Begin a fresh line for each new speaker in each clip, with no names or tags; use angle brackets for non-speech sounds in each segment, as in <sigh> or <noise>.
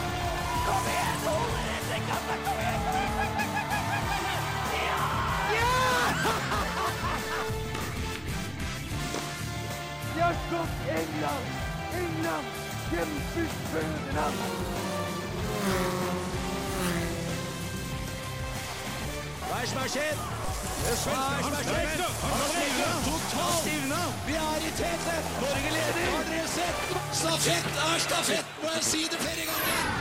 <laughs> De har slått England! England kjemper Fødeland!
Hva er det som har skjedd? Hva er det som har skjedd? Han stivna totalt! Vi er i tete! Norge leder! Har dere sett? Stafett er stafett! Må jeg si det flere ganger?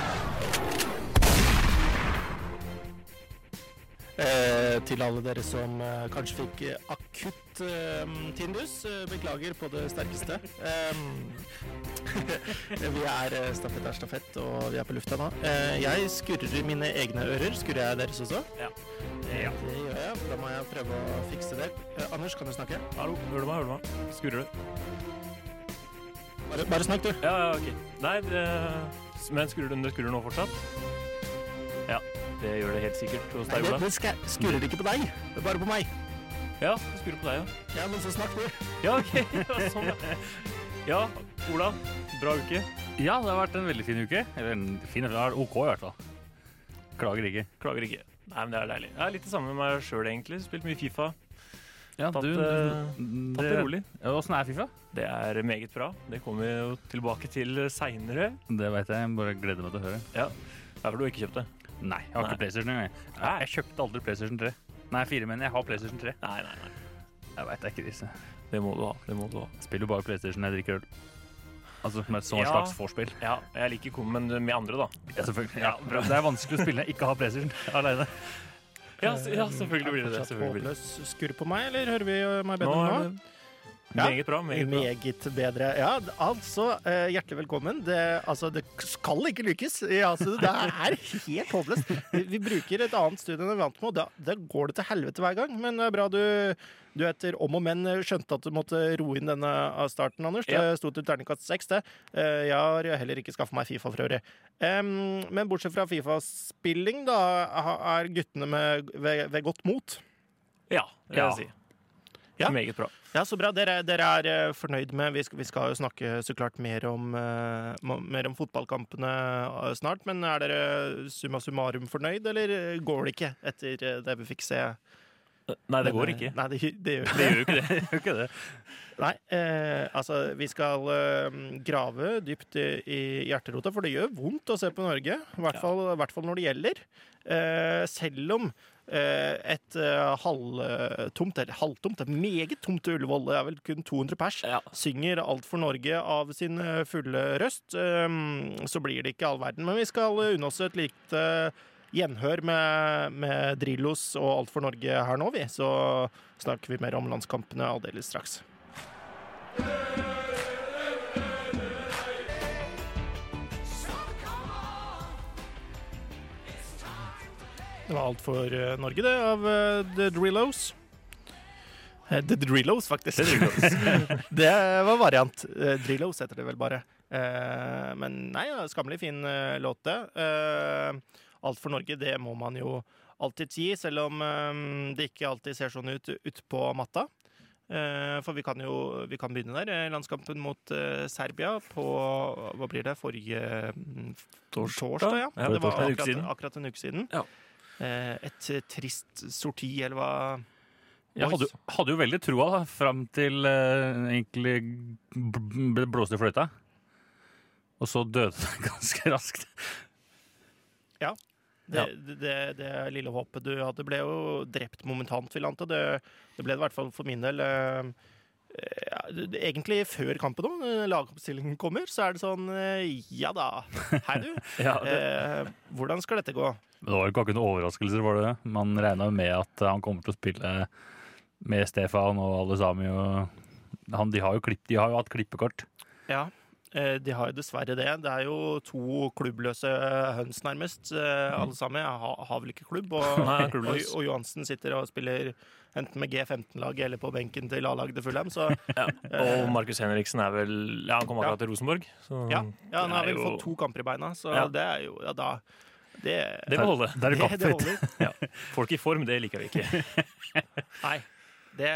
Eh, til alle dere som eh, kanskje fikk eh, akutt eh, Tindus, eh, beklager på det sterkeste. Eh, <laughs> vi er eh, stafett er stafett, og vi er på lufta nå. Eh, jeg skurrer i mine egne ører. Skurrer jeg deres også?
Ja.
Det gjør jeg. Da må jeg prøve å fikse det. Eh, Anders, kan du snakke?
Hallo, hører du meg? Hører du meg? Skurrer du?
Bare, bare snakk, du.
Ja, ja, ok. Nei, det, men skurrer du, det skurrer nå fortsatt? Ja, det gjør det helt sikkert hos
Nei,
deg,
det,
Ola.
det ska- skurrer ikke på deg, det er bare på meg.
Ja, det skurrer på deg, ja.
Ja, men så snakk, du.
Ja, ok. <laughs> Ja, sånn, ja. ja, Ola, bra uke.
Ja, det har vært en veldig fin uke. Eller en fin, det har vært ok i hvert fall. Klager ikke.
Klager ikke. Nei, men det er deilig. Jeg er litt det samme med meg sjøl, egentlig. Spilt mye Fifa.
Ja,
Tatt,
du,
eh,
tatt
Tatt det rolig.
Åssen er Fifa?
Det er meget bra. Det kommer vi jo tilbake til seinere.
Det veit jeg. jeg Bare gleder meg til å høre.
Derfor du ikke kjøpte.
Nei, jeg har
Nei.
ikke PlayStation engang. jeg.
Nei.
Jeg kjøpte aldri PlayStation 3. Nei, 4, men jeg har PlayStation 3.
Nei, nei, nei.
Jeg veit ikke disse.
Det må du ha. Det må du ha.
Jeg spiller jo bare PlayStation når jeg drikker øl. Altså som et sånt
Ja.
slags vorspiel.
Ja, jeg liker kom, men med andre, da.
Ja, selvfølgelig. Ja, bra. Det er vanskelig å spille når jeg ikke har PlayStation <laughs> aleine.
Ja, s- ja selvfølgelig blir det det.
Fortsatt
Selvfølgelig blir det.
håpløs skurr på meg, eller hører vi eh, meg bedre
Nå
nå? nå?
er det
Ja.
meget bra. Meget bra.
Meget bedre. Ja, altså, eh, hjertelig velkommen. Det, altså, det skal ikke lykkes. Ja, altså, det er helt håpløst. Vi, vi bruker et annet studie enn vi er vant med, og da, da går det til helvete hver gang. Men det er bra du, du etter om og men eh, skjønte at du måtte roe inn denne av starten, Anders.
Ja.
Det sto til terningkast seks, det. Eh, Jeg har heller ikke skaffa meg Fifa for øvrig. Em, men bortsett fra Fifa-spilling, da, ha- er guttene med, ved, ved godt mot.
Ja, det vil
Ja.
jeg si.
Ja.
Meget bra.
Ja, så bra. Dere, dere er eh, fornøyd med Vi skal, vi skal jo snakke så klart mer om, eh, ma- mer om fotballkampene eh, snart, men er dere summa summarum fornøyd, eller eh, går det ikke etter eh, det vi fikk se?
eh, Nei, det går ikke.
Nei, det, det gjør
Det gjør jo
<laughs>
ikke det. Det gjør ikke det.
Nei, eh, altså vi skal eh, grave dypt i, i hjerterota, for det gjør vondt å se på Norge. I hvert,
Ja.
fall, i hvert fall når det gjelder. Eh, selv om eh, et eh, halvtomt, eller halvtomt, det er meget tomt Ullevål, det er vel kun 200 pers,
Ja.
synger Alt for Norge av sin eh, fulle røst, eh, så blir det ikke all verden. Men vi skal eh, unne oss et likt eh, gjenhør med, med Drillos og Alt for Norge her nå, vi. Så snakker vi mer om landskampene aldeles straks. Det var alt for eh, Norge, det, av eh, The Drillos. Eh, The Drillos, faktisk. det var variant. Eh, Drillos heter det vel bare. Eh, men nei, ja, skammelig fin eh, låt, det. Eh, alt for Norge, det må man jo alltid si, selv om eh, det ikke alltid ser sånn ut utpå matta. Eh, for vi kan jo vi kan begynne der. eh, Landskampen mot eh, Serbia på Hva blir det? Forrige mm, torsdag, ja.
Ja,
det var
torsdag. En uke
akkurat en,
siden.
akkurat en uke siden.
Ja.
Eh, et eh, trist sorti, eller hva
Jeg hadde, jo- hadde jo veldig troa da, fram til eh, egentlig bl- ble blåst i fløyta. Og så døde det <laughs> ganske raskt.
det,
Ja.
det, det, det lille håpet du hadde, ble jo drept momentant, vil jeg anta. Det, det ble det i hvert fall for min del. eh, eh, ja, det- det- egentlig før kampen òg, når lagoppstillingen kommer, så er det sånn eh, Ja da, hei <laughs> du.
Ja, det,
Eh, hvordan skal dette gå?
Men det var jo ikke akkurat noen overraskelser, var det det? Man regna jo med at eh, han kommer til å spille med Stefan og alle sammen. Og han, de, har jo klipp, de har jo hatt klippekort.
Ja, eh, de har jo dessverre det. Det er jo to klubbløse høns, nærmest. eh, Alle sammen. Jeg har, har vel ikke klubb. <laughs> Og,
Nei, jeg er
og,
klubbløs.
og Johansen sitter og spiller enten med G15-laget eller på benken til A-laget til Fulham. Så
ja. Og Markus Henriksen er vel Ja, han kom akkurat til Rosenborg. Så
ja, ja han har
Det er
vel
jo-
fått to kamper i beina, så
Ja.
det er jo Ja, da. Det,
det må holde.
Det er jo
det, det
kappfritt.
holder.
Folk i form, det liker vi ikke.
Nei. Det,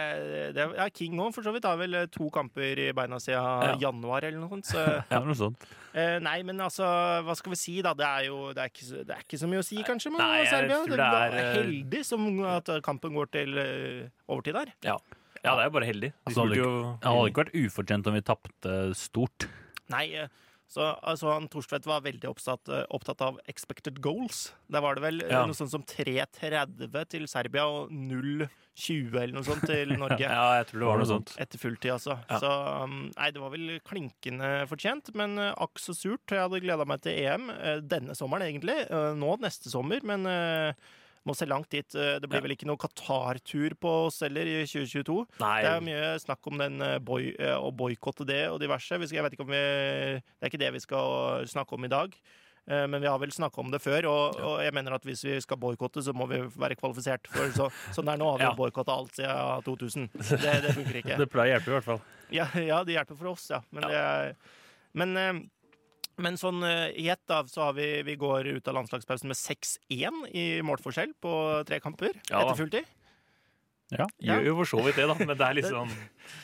det, ja, King òg, for så vidt, har vel eh, to kamper i beina siden januar eller noe sånt. Så
<laughs>
Ja, noe sånt.
Eh, nei, men altså, hva skal vi si, da? Det er jo det er ikke, så- det er ikke så mye å si, kanskje, med
Nei, jeg
Serbia.
tror
Det
det er,
var heldig som at kampen går til eh, overtid der.
Ja. Ja, det er jo bare heldig. De
Altså, hadde
skulle jo
Det hadde ikke vært ufortjent om vi tapte stort.
Nei, eh, så altså, han Torstvedt var veldig opptatt, eh, opptatt av expected goals. Der var det vel eh,
Ja.
noe sånt som 3.30 til Serbia og 0.20 eller noe sånt
<laughs>
til Norge.
Ja, jeg tror det var noe sånt.
Etter fulltid, altså.
Ja.
Så um, nei, det var vel klinkende fortjent, men eh, akk så surt. Jeg hadde gleda meg til EM eh, denne sommeren, egentlig. Eh, Nå neste sommer, men eh, må se langt dit. Eh, Det blir
Ja.
vel ikke noe Qatar-tur på oss heller i 2022. Det er
Nei,
mye snakk om den eh, boy, eh, å boikotte det og diverse. Vi skal, jeg vet ikke om vi, det er ikke det vi skal snakke om i dag. eh, Men vi har vel snakka om det før, og, og jeg mener at hvis vi skal boikotte, så må vi være kvalifisert. For så, sånn det er nå, har vi
Ja.
ja. boikotta alt siden
<laughs>
2000. Det, det funker ikke.
det pleier å hjelpe i hvert fall.
Ja, ja det hjelper for oss, ja. Men, Det er, men, eh, men sånn eh, i ett, da, så har vi Vi går ut av landslagspausen med 6-1 i målforskjell på tre kamper
Ja da.
etter fulltid. Ja.
Gjør jo for så vidt det, da, men det er litt sånn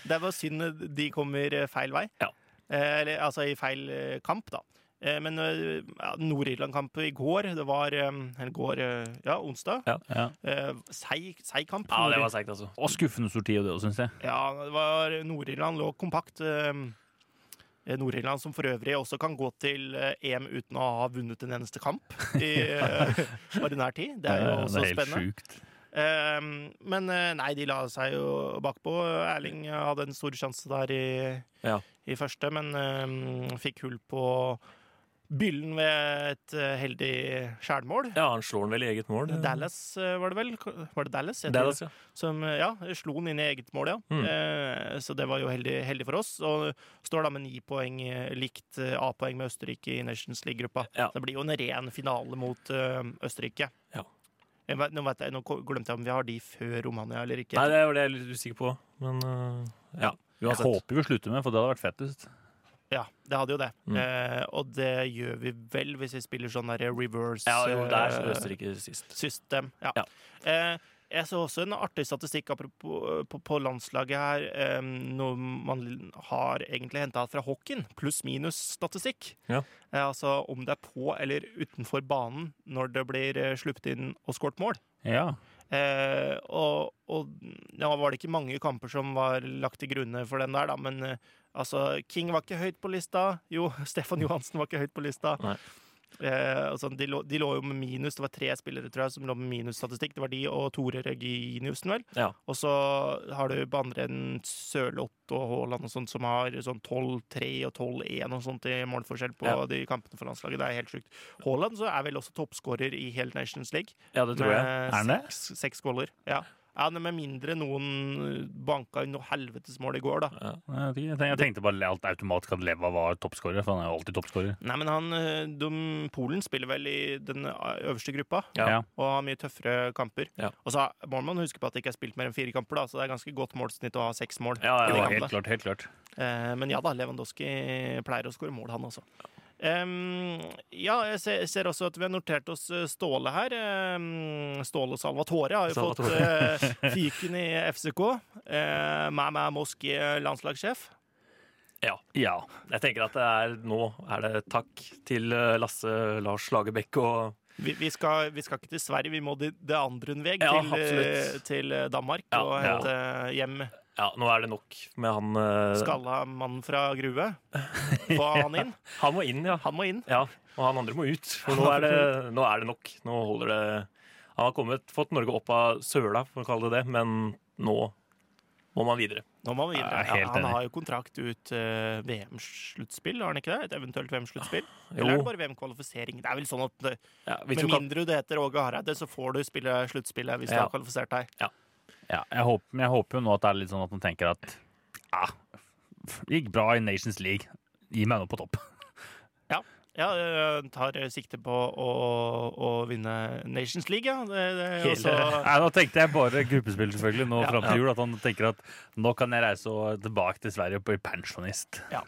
Det var synd de kommer eh, feil vei.
Ja.
Eh, eller altså i feil eh, kamp, da. Eh, Men eh, ja, Nord-Irland-kamp i går, det var eh, Eller går, eh, ja, onsdag.
Ja.
Ja.
Eh, Seig seig kamp.
Ja, det
Nord-
var seigt, altså.
Og skuffende sorti av det òg, syns jeg.
Ja, det var Nord-Irland lå kompakt. eh, Nord-Irland som for øvrig også kan gå til eh, EM uten å ha vunnet en eneste kamp
<laughs>
i eh, ordinær tid. Det er jo
Ja,
også
det er helt
spennende.
sjukt.
Eh, Men eh, nei, de la seg jo bakpå. Erling hadde en stor sjanse der i,
Ja.
i første, men eh, fikk hull på byllen ved et eh, heldig skjærmål.
Ja, han slår den vel i eget mål. det-
Dallas, eh, var det vel? Var det Dallas? Jeg tror det.
Dallas, ja.
Som eh, ja, slo den inn i eget mål, ja.
Mm.
Eh, så det var jo heldig, heldig for oss. Og står da med ni poeng, eh, likt eh, A-poeng med Østerrike i Nations League-gruppa.
Ja.
Så Det blir jo en ren finale mot eh, Østerrike.
Ja.
Jeg vet, nå, vet jeg, nå ko- glemte jeg om vi har de før Romania eller ikke.
Nei, det var det jeg er litt usikker på, men øh, ja.
Jeg
Uansett.
håper vi slutter med, for det hadde vært fettest.
Ja, det hadde jo det.
Mm.
Eh, og det gjør vi vel hvis vi spiller sånn der reverse
Ja, jo, det er
eh,
Østerrike sist.
system. Ja.
Ja.
Eh, jeg så også en artig statistikk apropos, eh, på, på landslaget her, eh, noe man har egentlig henta fra hockeyen. Pluss-minus-statistikk.
Ja.
Eh, altså om det er på eller utenfor banen når det blir eh, sluppet inn og skåret mål.
Ja.
Eh, og og ja, var det ikke mange kamper som var lagt til grunne for den der, da, men eh, altså King var ikke høyt på lista. Jo, <laughs> Stefan Johansen var ikke høyt på lista.
Nei.
Eh, altså, de, lå, de lå jo med minus. Det var tre spillere tror jeg, som lå med minusstatistikk. Det var de og Tore Reginiussen, vel.
Ja.
Og så har du på andre enden Sørloth og Haaland og sånt, som har sånn 12-3 og 12-1 og sånt i målforskjell på
Ja.
de kampene for landslaget. Det er helt sjukt. Haaland så er vel også toppskårer i hele Nations League.
Ja, det tror jeg.
Med
Er han det?
Seks, seks goller. Ja. ja, men med mindre noen banka inn noe helvetes mål i går, da.
Ja.
Jeg vet ikke, jeg tenk- jeg tenkte bare alt automatisk at Leva var toppskårer, for han er jo alltid toppskårer.
Nei, men han, eh, de, Polen spiller vel i den eh, øverste gruppa
Ja.
Ja.
og har mye tøffere kamper.
Ja.
Og så må man huske på at det ikke er spilt mer enn fire kamper, da, så det er ganske godt målsnitt å ha seks mål. i
Ja, ja,
de
Ja,
kampene.
helt klart, helt klart.
Eh, Men ja da, Lewandowski pleier å skåre mål, han også. Em, ja, jeg ser, ser også at vi har notert oss eh, Ståle her. Em, Ståle Salvatore har jo
Salvatore.
fått eh, fiken i FCK. Uh, Mæ mæ Moski, eh, landslagssjef.
Ja.
Jeg tenker at det er, nå er det takk til øh, Lasse Lars Lagerbäck og
Vi, vi, skal, vi skal ikke til Sverige, vi må det de andre en vei,
Ja,
til, eh,
absolutt.
til eh, Danmark.
Ja,
og
ja.
hente hjem
Ja, nå er det nok med han øh,
skalla mannen fra Grue. Få han inn.
Han må inn, ja.
Han må inn.
ja. Og han andre må ut. For nå er det, nå er det nok. Nå holder det Han har kommet, fått Norge opp av søla, for å kalle det det, men nå må man videre.
Nå må vi videre.
Jeg er helt
Ja, han
enig.
har jo kontrakt ut eh, VM-sluttspill, har han ikke det? Et eventuelt VM-sluttspill?
Jo.
Eller er det bare VM-kvalifisering? Det er vel sånn at det,
Ja, vi
Med
tror kan,
mindre du heter Åge Hareide, så får du spille sluttspillet hvis du
Ja.
har kvalifisert deg.
ja jeg, håper, men jeg håper jo nå at det er litt sånn at man tenker at ah, det gikk bra i Nations League. Gi meg nå på topp.
Ja, eh, tar sikte på å, å vinne Nations League, ja. Det, det, er
Hele,
også,
<laughs> nei, nå tenkte jeg bare gruppespill, selvfølgelig, nå
Ja.
fram til jul. At han tenker at nå kan jeg reise og tilbake til Sverige og bli pensjonist.
ja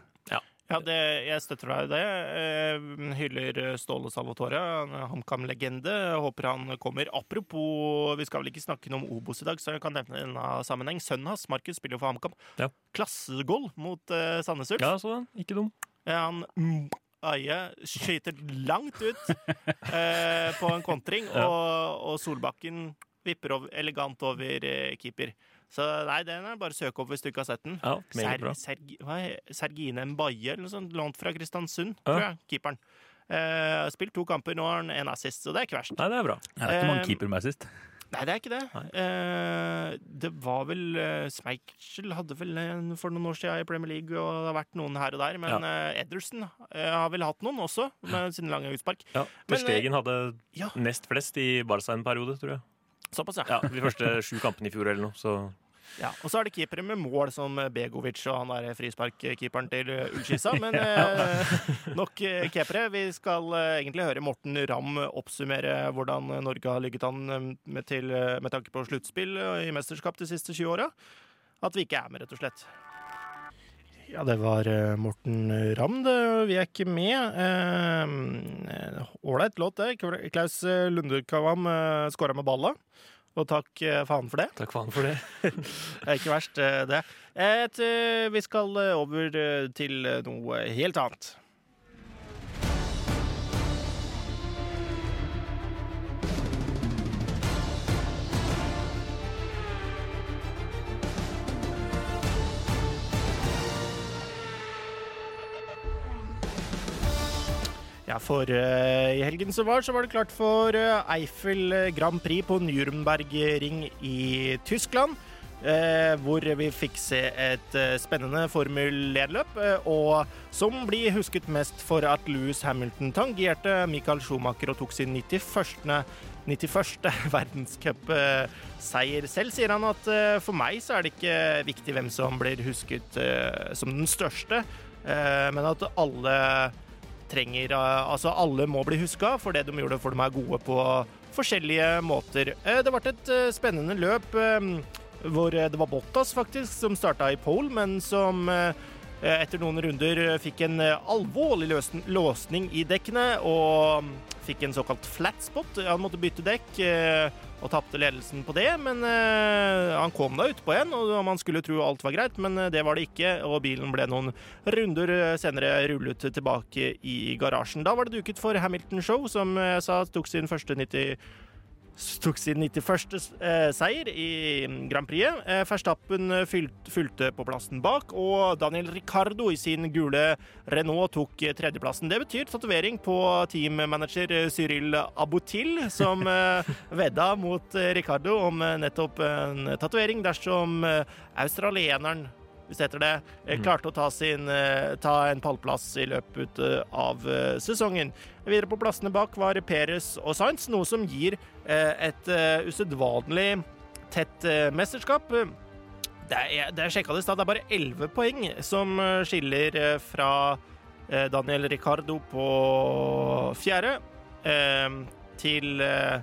det, jeg støtter deg i det. Eh, Hyller Ståle Salvatore, en HamKam-legende. Håper han kommer. Apropos, vi skal vel ikke snakke noe om Obos i dag, så jeg kan nevne en annen sammenheng. Sønnen hans, Markus, spiller jo for HamKam.
Ja.
Klassegoal mot eh, Sandnes Ulf.
ja, sånn. Ikke dum.
Eh, Han mm, øyet skyter langt ut
<laughs>
eh, på en kontring, og, og Solbakken vipper over, elegant over eh, keeper. Så nei, den er bare å søke opp hvis du ikke har sett den.
Ja, meget
Ser,
bra.
Serg, hva er, Sergine Mbaye, eller noe sånt, lånt fra Kristiansund,
Ja.
tror jeg. Keeperen. Eh, spilt to kamper, nå har han en assist, så det er ikke verst.
Nei, det er bra.
Jeg vet ikke om han
Eh,
keeper meg sist.
Nei, det er ikke det. Eh, det var vel eh, Schmeichel hadde vel en for noen år siden i Premier League, og det har vært noen her og der. Men eh, Ederson eh, har vel hatt noen også, med sine lange utspark.
Ja,
Men, eh,
Ter Stegen hadde
ja.
nest flest i Barca en periode, tror jeg.
Såpass,
Ja, De første sju kampene i fjor eller noe. Så
Ja, og så er det keepere med mål, som Begovic og han der frisparkkeeperen til eh, Ullskissa. <laughs> Men eh, nok eh, keepere. Vi skal eh, egentlig høre Morten Ramm oppsummere hvordan eh, Norge har ligget an eh, med, til, eh, med tanke på sluttspill eh, i mesterskap de siste 20 åra. At vi ikke er med, rett og slett. Ja, det var eh, Morten Ramm, det. Vi er ikke med. Eh, Ålreit låt, det. Klaus Lundekavam eh, skåra med balla. Og takk eh, faen for det.
takk faen for det.
Det er ikke verst, eh, det. Et, eh, vi skal eh, over eh, til eh, noe helt annet. Ja, for eh, i helgen som var, så var det klart for eh, Eiffel Grand Prix på Nürnberg-ring i Tyskland. eh, hvor vi fikk se et eh, spennende Formel 1-løp, eh, og som blir husket mest for at Lewis Hamilton tangerte Michael Schumacher og tok sin 91. 91. <laughs> verdenscupseier. Selv sier han at eh, for meg så er det ikke viktig hvem som blir husket eh, som den største, eh, men at alle trenger eh, Altså, alle må bli huska for det de gjorde, for de er gode på forskjellige måter. Eh, Det ble et eh, spennende løp eh, hvor eh, det var Bottas faktisk som starta i pole, men som eh, etter noen runder eh, fikk en eh, alvorlig løsn- låsning i dekkene og fikk en såkalt flat spot. Han måtte bytte dekk eh, og tapte ledelsen på det, men eh, han kom da utpå igjen, og man skulle tro alt var greit, men eh, det var det ikke, og bilen ble noen runder eh, senere rullet tilbake i garasjen. Da var det duket for Hamilton Show, som eh, jeg sa tok sin første 90 tok sin 91. eh, seier i Grand Prix. Eh, Verstappen eh, fylt- fulgte på plassen bak, og Daniel Ricardo i sin gule Renault tok eh, tredjeplassen. Det betyr tatovering på teammanager eh, Cyril Abotil, som eh, vedda mot eh, Ricardo om eh, nettopp en tatovering dersom eh, australieneren hvis det heter det, eh, klarte å ta, sin, eh, ta en pallplass i løpet eh, av eh, sesongen. Videre på plassene bak var Perez og Sainz, noe som gir eh, et eh, usedvanlig tett eh, mesterskap. Det er, det er sjekka det i stad, det er bare 11 poeng som eh, skiller eh, fra eh, Daniel Ricardo på fjerde eh, til eh,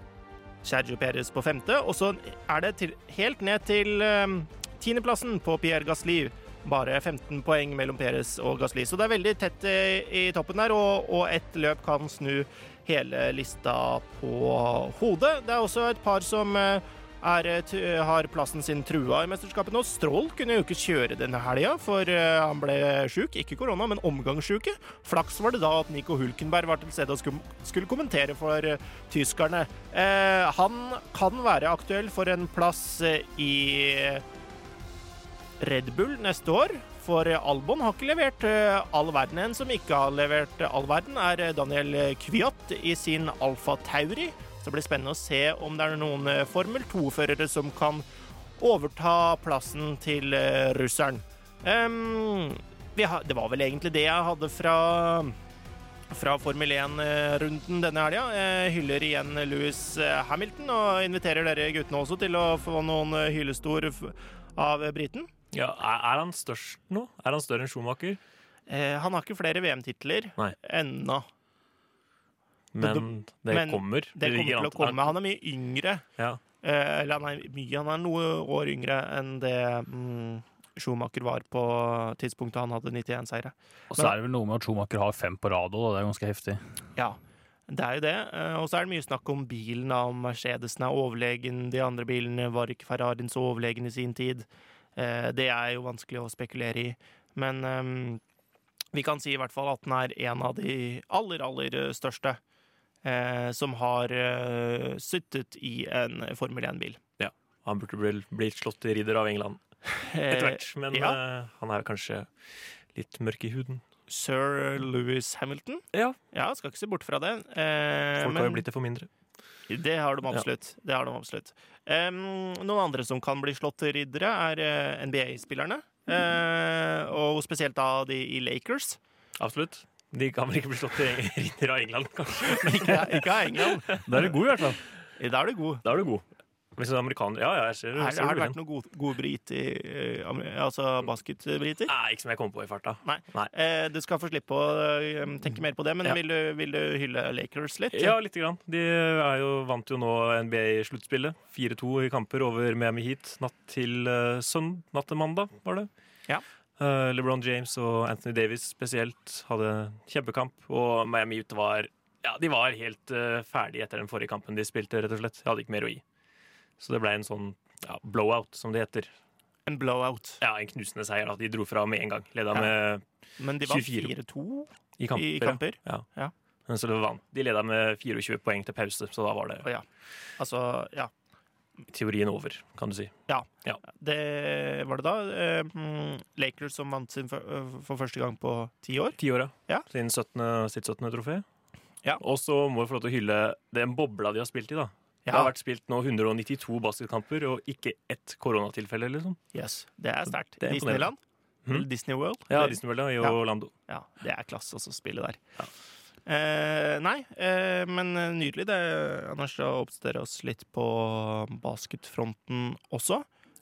Sergio Perez på femte, og så er det til, helt ned til eh, tiendeplassen på Pierre Gasli. Bare 15 poeng mellom Perez og Gasli, så det er veldig tett eh, i toppen der, og, og ett løp kan snu hele lista på hodet. Det er også et par som eh, er, eh, tu- har plassen sin trua i mesterskapet nå. Strål kunne jo ikke kjøre denne helga, for eh, han ble sjuk. Ikke korona, men omgangssjuke. Flaks var det da at Nico Hulkenberg var til stede og skum- skulle kommentere for eh, tyskerne. Eh, han kan være aktuell for en plass eh, i Red Bull neste år. For Albon har ikke levert eh, all verden. En som ikke har levert eh, all verden, er eh, Daniel Kvyat i sin Alfa Tauri. Så det blir spennende å se om det er noen eh, Formel 2-førere som kan overta plassen til eh, russeren. Ehm, vi har, det var vel egentlig det jeg hadde fra fra Formel 1-runden denne helga. Eh, Hyller igjen Louis eh, Hamilton og inviterer dere guttene også til å få noen eh, hyllestor f- av eh, briten.
Ja, er er han størst nå? Er han større enn Schumacher?
Eh, han har ikke flere VM-titler
Nei.
ennå.
Men det
men
kommer.
Det kommer til å komme. Han er mye yngre.
Ja.
Eh, eller han er mye, han er noen år yngre enn det mm, Schumacher var på tidspunktet han hadde 91 seire.
Og så er det vel noe med at Schumacher har fem på rad òg, det er ganske heftig.
Ja, det er jo det. Eh, Og så er det mye snakk om bilen, da, om Mercedesen er overlegen, de andre bilene var ikke Ferrarien så overlegen i sin tid. Eh, Det er jo vanskelig å spekulere i. Men ehm, vi kan si i hvert fall at den er en av de aller, aller eh, største eh, som har eh, suttet i en Formel 1-bil.
Ja. Han burde bli, bli slått til ridder av England etter
Eh,
hvert, men
ja.
eh, han er kanskje litt mørk i huden.
Sir Louis Hamilton.
Ja,
Ja, skal ikke se bort fra det. Eh,
folk har
men-
jo blitt det for mindre.
Det har de absolutt. Det har de absolutt. Em, noen andre som kan bli slått til riddere, er eh, NBA-spillerne. Eh, og spesielt da de i
<laughs>
Lakers.
Absolutt. De kan vel ikke bli slått til <laughs> ridder av England, kanskje.
Ikke, ikke av England.
Da er du god, i hvert fall.
Da er du god.
Da er du god. Hvis en amerikaner Ja, ja, jeg ser,
Her,
ser
har det vært
hvor du liksom- vil hen.
noen gode, gode briter, eh, amer- altså basketbriter?
Nei, ikke som jeg kom på i farta.
Nei.
Nei.
Eh, du skal få slippe å eh, tenke mer på det, men
Ja.
vil, du, vil du hylle Lakers litt?
Ja, lite grann. De er jo, vant jo nå NBA-sluttspillet. 4-2 i kamper over Miami Heat natt til uh, søndag. Natt til mandag, var det.
Ja.
Eh, LeBron James og Anthony Davis spesielt hadde kjempekamp, og Miami Heat var ja, de var helt eh, ferdige etter den forrige kampen de spilte, rett og slett. De hadde ikke mer å gi. Så det ble en sånn ja, blowout, som det heter.
En blowout.
Ja, En knusende seier. Da. De dro fra med en gang. Leda
Ja.
med
Men de var
24.
4-2
i kamper.
i
ja.
kamper.
Ja.
Ja.
Men så vant. De leda med 24 poeng til pause, så da var det
Å ja. Altså, ja.
teorien over, kan du si.
Det var det da. eh, mm, Lakers som vant sin for, for første gang på ti år.
Tiåra.
Ja.
Sin 17, sitt 17. trofé.
Ja.
Og så må vi få lov til å hylle den bobla de har spilt i, da. Det har vært spilt nå 192 basketkamper og ikke ett koronatilfelle, liksom.
Yes. Det er sterkt.
Det er
Disneyland.
imponerende. Mhm.
Eller Disney World.
Ja,
det,
Disney World ja, i
Ja.
Orlando.
ja, det er klasse også å spille der. Eh, nei, eh, men nydelig det, Anders, å oppdatere oss litt på basketfronten også.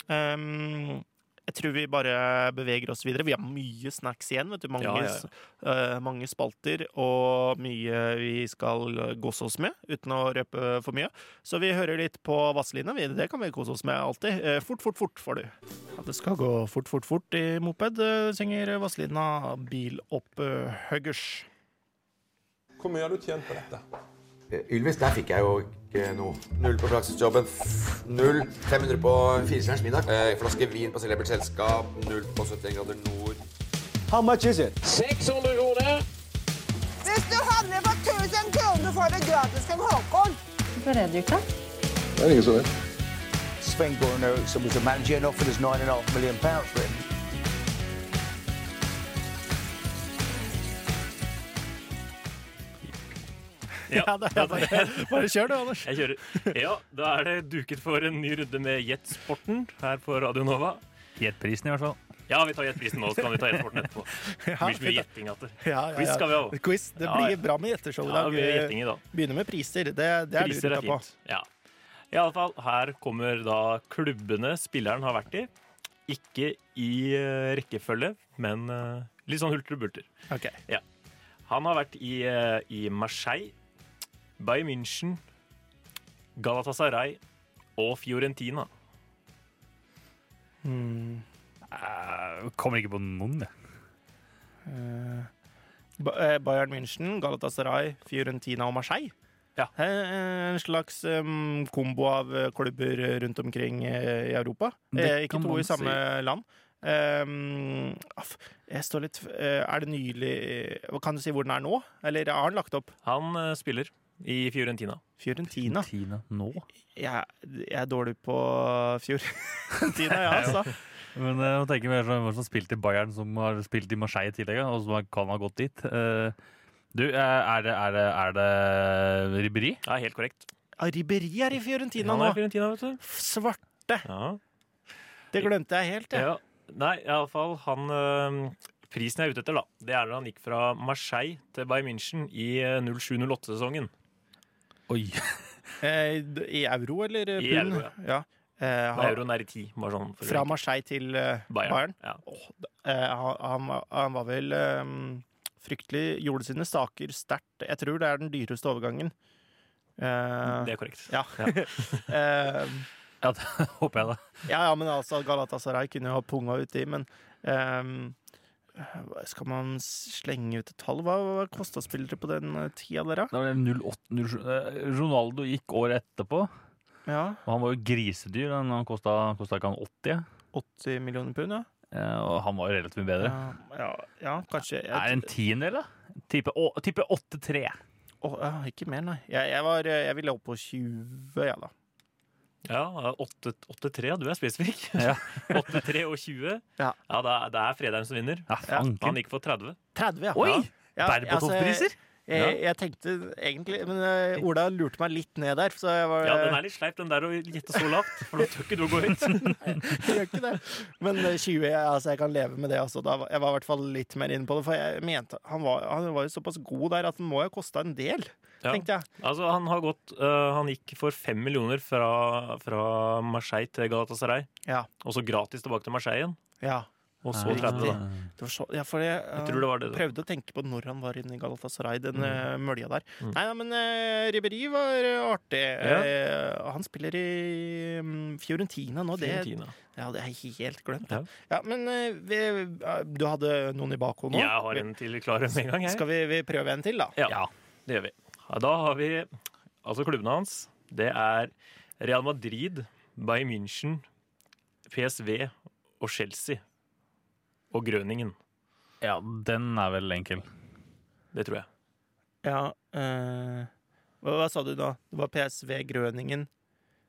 Ehm, jeg tror vi bare beveger oss videre. Vi har mye snacks igjen. vet du Mange,
Ja, ja, ja.
s- eh, mange spalter og mye vi skal gåse oss med, uten å røpe for mye. Så vi hører litt på Vazelina. vi. Det kan vi kose oss med alltid. Eh, fort, fort, fort får du. Ja, det skal gå fort, fort, fort i moped, eh, synger Vazelina eh, Bilopphuggers.
Hvor mye har du tjent på dette?
Ylvis, der fikk jeg jo ikke noe. Null på praksisjobben. Null. 500 på firestjerners middag. Eh, flaske vin på celebert selskap. Null på 71 grader nord.
How much is it?
Hvis du handler for 1000 kroner, får du gratis en Håkon.
Hvorfor er det du ikke?
Sven Goran Eriksson was the manager and offered us nine and a half million pounds for him.
<laughs> Ja, det er bare, bare kjør du, Anders.
Jeg kjører. Ja, da er det duket for en ny runde med Jetsporten her på Radio Nova.
Gjett prisen, i hvert fall.
Ja, vi tar Jetprisen nå, så kan vi ta Jetsporten etterpå.
<laughs>
Det blir så mye gjetting at det. Quiz skal vi ha også.
Quiz. Det
Ja, ja.
blir bra med gjetteshow i
Ja, det
dag.
blir gjetting i dag.
Begynner med priser. Det, det er
Priser
du
er
ute på.
fint. Ja. I alle fall, her kommer da klubbene spilleren har vært i. Ikke i eh, rekkefølge, men eh, litt sånn hulter og bulter.
Ok.
Han har vært i, eh, i Marseille, Bayern München, Galatasaray og Fiorentina.
Jeg kommer ikke på noen, jeg.
Ba- eh, Bayern München, Galatasaray, Fiorentina og Marseille.
Ja.
Eh, En slags um, kombo av eh, klubber rundt omkring eh, i Europa.
Det
Eh, Ikke
kan
to
man
i samme
si.
land. Um, aff, jeg står litt eh, Er det nylig eh, Kan du si hvor den er nå? Eller har den lagt opp?
Han eh, spiller i Fiorentina.
Fiorentina.
Tina nå.
Jeg, jeg er dårlig på <laughs> Fiorentina, jeg, altså.
Men eh, jeg tenker mer sånn, hvem som har spilt i Bayern, som har spilt i Marseille i tillegg, og som har- kan ha gått dit. Eh, Du, eh, er det, er det, er det Ribberi?
Ja, helt korrekt.
Ja, Ribberi Ah, er i Fiorentina
Han
nå.
er i Fiorentina, vet du.
Svart.
Ja.
Det glemte jeg helt. Jeg.
Ja. Nei, iallfall han øhm, Prisen jeg er ute etter, da, det er når han gikk fra Marseille til Bayern München i eh, 07-08-sesongen.
Oi.
Eh, d- I euro, eller? eh,
I
pund?
euro,
ja. Eh,
Og
han-
Euroen er i 10. Bare sånn for
fra Marseille til eh, Bayern.
Ja.
Åh, d- eh, han, han var- han var vel eh, fryktelig Gjorde sine saker sterkt. Jeg tror det er den dyreste overgangen. Eh,
Det er korrekt.
ja. eh,
Ja, det håper jeg, da.
Ja, ja, men altså Galatasaray kunne jo ha punga uti, men ehm, Skal man slenge ut et tall? Hva, hva kosta spillere på den eh, tida der, da?
Det var 08-07. Eh, Ronaldo gikk året etterpå, og
Ja,
han var jo grisedyr. Han han kosta kosta ikke han 80,
80 millioner pund, ja.
eh, og han var jo relativt mye bedre.
Ja, ja, ja kanskje jeg,
Er det en tiendedel, da? Type, å, type 8-3.
Åh, ja, Ikke mer, nei. Jeg, jeg, var, eh, jeg ville opp på 20, ja da.
Ja, 8-3. Du er spesifikk.
<laughs>
<laughs>
Ja.
8-3 og 20.
Ja.
Ja, det er, det er Fredheim som vinner.
Ja,
Han
fanken.
gikk for 30.
30, ja.
Oi!
Ja, altså,
Berbatov-priser?
Jeg, jeg, jeg tenkte egentlig Men eh, Ola lurte meg litt ned der, så jeg var
Ja, Den er litt sleip, den der å gjette så lavt. For nå tør ikke
<laughs>
du å gå høyt.
<laughs> jeg gjør ikke det. Men eh, 20, ja, altså, jeg kan leve med det. Altså. Da, var- jeg var i hvert fall litt mer inne på det. For jeg mente, han, var, han var jo såpass god der at han må jo ha kosta en del,
Ja.
tenkte jeg.
Altså, han, har gått, øh, han gikk for 5 millioner fra, fra Marseille til Galatasaray.
Ja.
Og så gratis tilbake til Marseille igjen.
ja.
Og så 30, da.
Det var så, ja, for jeg, eh,
Jeg tror det var Mm. det. da.
prøvde å tenke på når han var inne i Galatasaray, den eh, mølja der. Nei, nei, men uh, Ribberi var eh, artig.
Mm. Ja.
Eh, han spiller i mm, Fiorentina nå. Det,
Fiorentina.
Ja, det er helt glemt.
Ja.
Ja. Ja, men eh, vi, eh, du hadde noen i bakhodet nå?
Jeg har en til klar med en gang, jeg.
Skal vi, vi prøve en til, da?
Ja, det gjør vi. Ja, Da har vi altså klubbene hans. Det er Real Madrid, Bayern München, PSV og Chelsea. Og Grøningen.
Ja, den er vel enkel.
Det tror jeg.
Ja, eh, hva, hva sa du da? Det var PSV, Grøningen,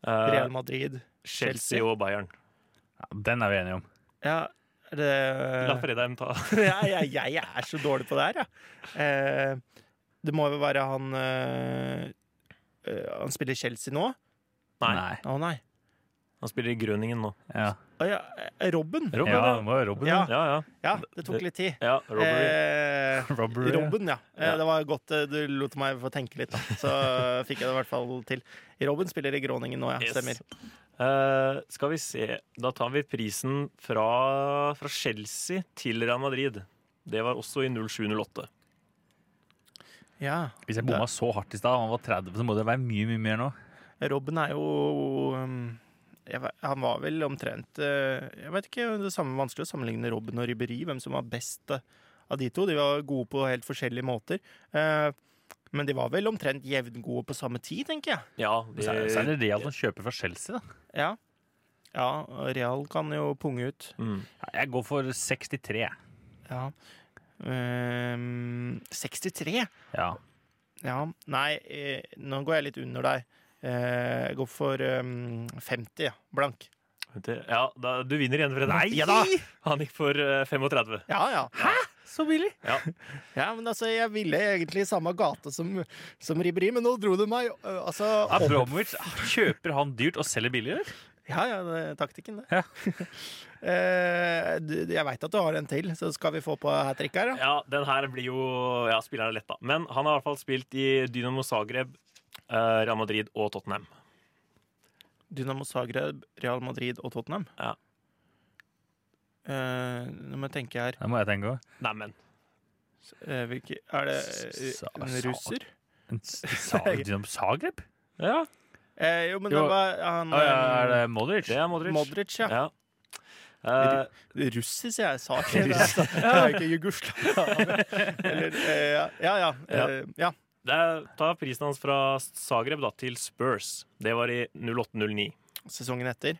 Eh,
Real Madrid
Chelsea og Bayern.
Ja, den er vi enige om.
Ja, er det
Eh.
La Fredheim ta
<laughs>
<laughs>
ja, ja, Jeg er så dårlig på det her, ja. Eh, det må jo være han eh, eh, Han spiller Chelsea nå? Å
Nei.
nei.
Han spiller i Grøningen nå.
Ja,
Å ja, eh, Robben.
Robben,
ja
ja.
det må være Robin.
Ja.
Ja, ja.
Ja, det tok litt tid.
ja Robbery.
Eh,
<laughs>
Robbery.
Robben, ja. Eh,
Ja.
Det var godt eh, du lot meg få tenke litt, da. Så eh, fikk jeg det i hvert fall til. Robben spiller i Groningen nå, ja.
Yes.
Stemmer.
Eh, skal vi se Da tar vi prisen fra, fra Chelsea til Real Madrid. Det var også i 07-08.
Ja.
Hvis jeg bomma så hardt i stad, han var 30, så må det være mye mye mer nå.
Robben er jo um, jeg, ve- Han var vel omtrent eh, Jeg vet ikke, det er samme vanskelig å sammenligne Robben og Ribberi, hvem som var best eh, av de to. De var gode på helt forskjellige måter. Eh, men de var vel omtrent jevngode på samme tid, tenker jeg.
Ja,
Så
de,
er- så er det Real som kjøper fra Chelsea, da.
Ja, ja Real kan jo punge ut.
mm.
Ja, Jeg går for 63. jeg.
Ja. Ehm, 63?
Ja.
Ja. Nei, eh, nå går jeg litt under deg. Eh, jeg går for ehm, 50, ja. blank.
ja da, du vinner igjen, Fredrik.
Nei! Ja da!
Han gikk for eh, 35.
Ja, ja. Hæ? Så billig?
Ja.
Ja, men altså, jeg ville egentlig i samme gate som, som Ribri, men nå dro du meg øh, altså,
Ja,
opp.
Bromovic kjøper han dyrt og selger billigere?
Ja, ja, det er taktikken, det.
Ja.
<laughs> Eh, du, jeg veit at du har en til, så skal vi få på hat trick her, da?
Ja, den her blir jo Ja, spilleren er lett, da. Men han har i hvert fall spilt i Dynamo Zagreb, eh, Real Madrid og Tottenham.
Dynamo Zagreb, Real Madrid og Tottenham.
Ja.
Eh, nå må jeg tenke her
Det må jeg tenke òg.
Neimen.
eh, hvilke, Er det eh,
Sa-
en
sa-
russer?
<laughs> Zagreb?
Ja,
Eh, jo, men
Jo.
det var han
Å, ja, er
eh,
det Modric?
det er Modric.
Modric, ja.
Ja. Eh,
Russer, sier jeg. Sa ikke det. altså. Det er jo ikke Jugoslavia.
<laughs>
Eller eh, ja, ja. Ja. eh, ja.
det er, ta prisen hans fra Zagreb da, til Spurs. Det var i 08-09.
sesongen etter.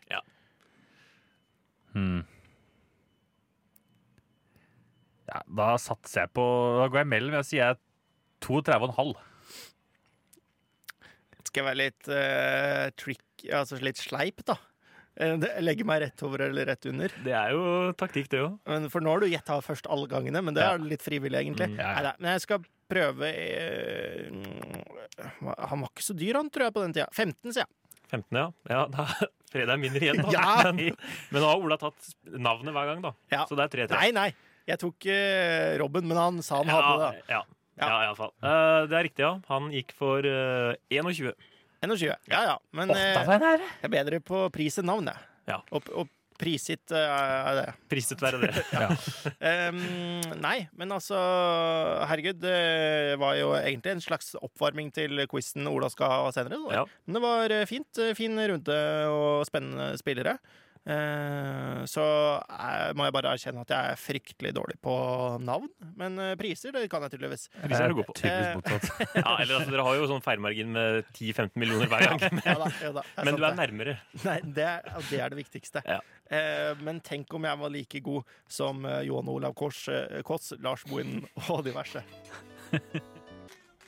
Hmm. Ja, da satser jeg på Da går jeg mellom. Jeg sier jeg er 32,5.
Skal jeg være litt eh, trick, altså litt sleip, da. Eh, det- Legge meg rett over eller rett under.
Det er jo taktikk, det òg.
Men for nå har du gjetta først alle gangene, men det
Ja. Mm.
er litt frivillig, egentlig.
ja, ja.
Neida, men jeg skal prøve eh, mm, Han var ikke så dyr, han, tror jeg, på den tida. 15, sier jeg.
15, ja. ja da, <laughs> Fredheim vinner igjen, da.
<laughs> Ja!
<laughs> Men, men nå har Ola tatt navnet hver gang, da.
Ja.
Så det er 3-3.
Nei, nei. Jeg tok eh, Robben, men han sa han
ja,
hadde det.
ja.
Ja.
Ja, i alle fall. Eh, det er riktig, ja. Han gikk for eh, 21.
21. Ja ja. Men eh, jeg er bedre på pris enn navn, jeg.
Ja.
Og, og prisgitt eh, er det.
Priset være
<laughs>
det.
Ehm, nei, men altså Herregud, det var jo egentlig en slags oppvarming til quizen Ola skal ha senere. Da.
Ja.
Men det var eh, fint. eh, Fin runde og spennende spillere. Eh, så eh, må jeg bare erkjenne at jeg er fryktelig dårlig på navn. Men eh, priser, det kan jeg tydeligvis.
Priset er du god på.
Tydeligvis motsatt. <laughs>
Ja, eller altså, Dere har jo sånn feilmargin med 10-15 millioner hver gang.
Ja da, ja da, det
<laughs> Men
sant
du er
det.
nærmere.
Nei, det er, ja, det er det viktigste.
Ja.
Eh, men tenk om jeg var like god som <laughs> eh, Johan Olav Kors, eh, Koss, Lars Bohinen og diverse.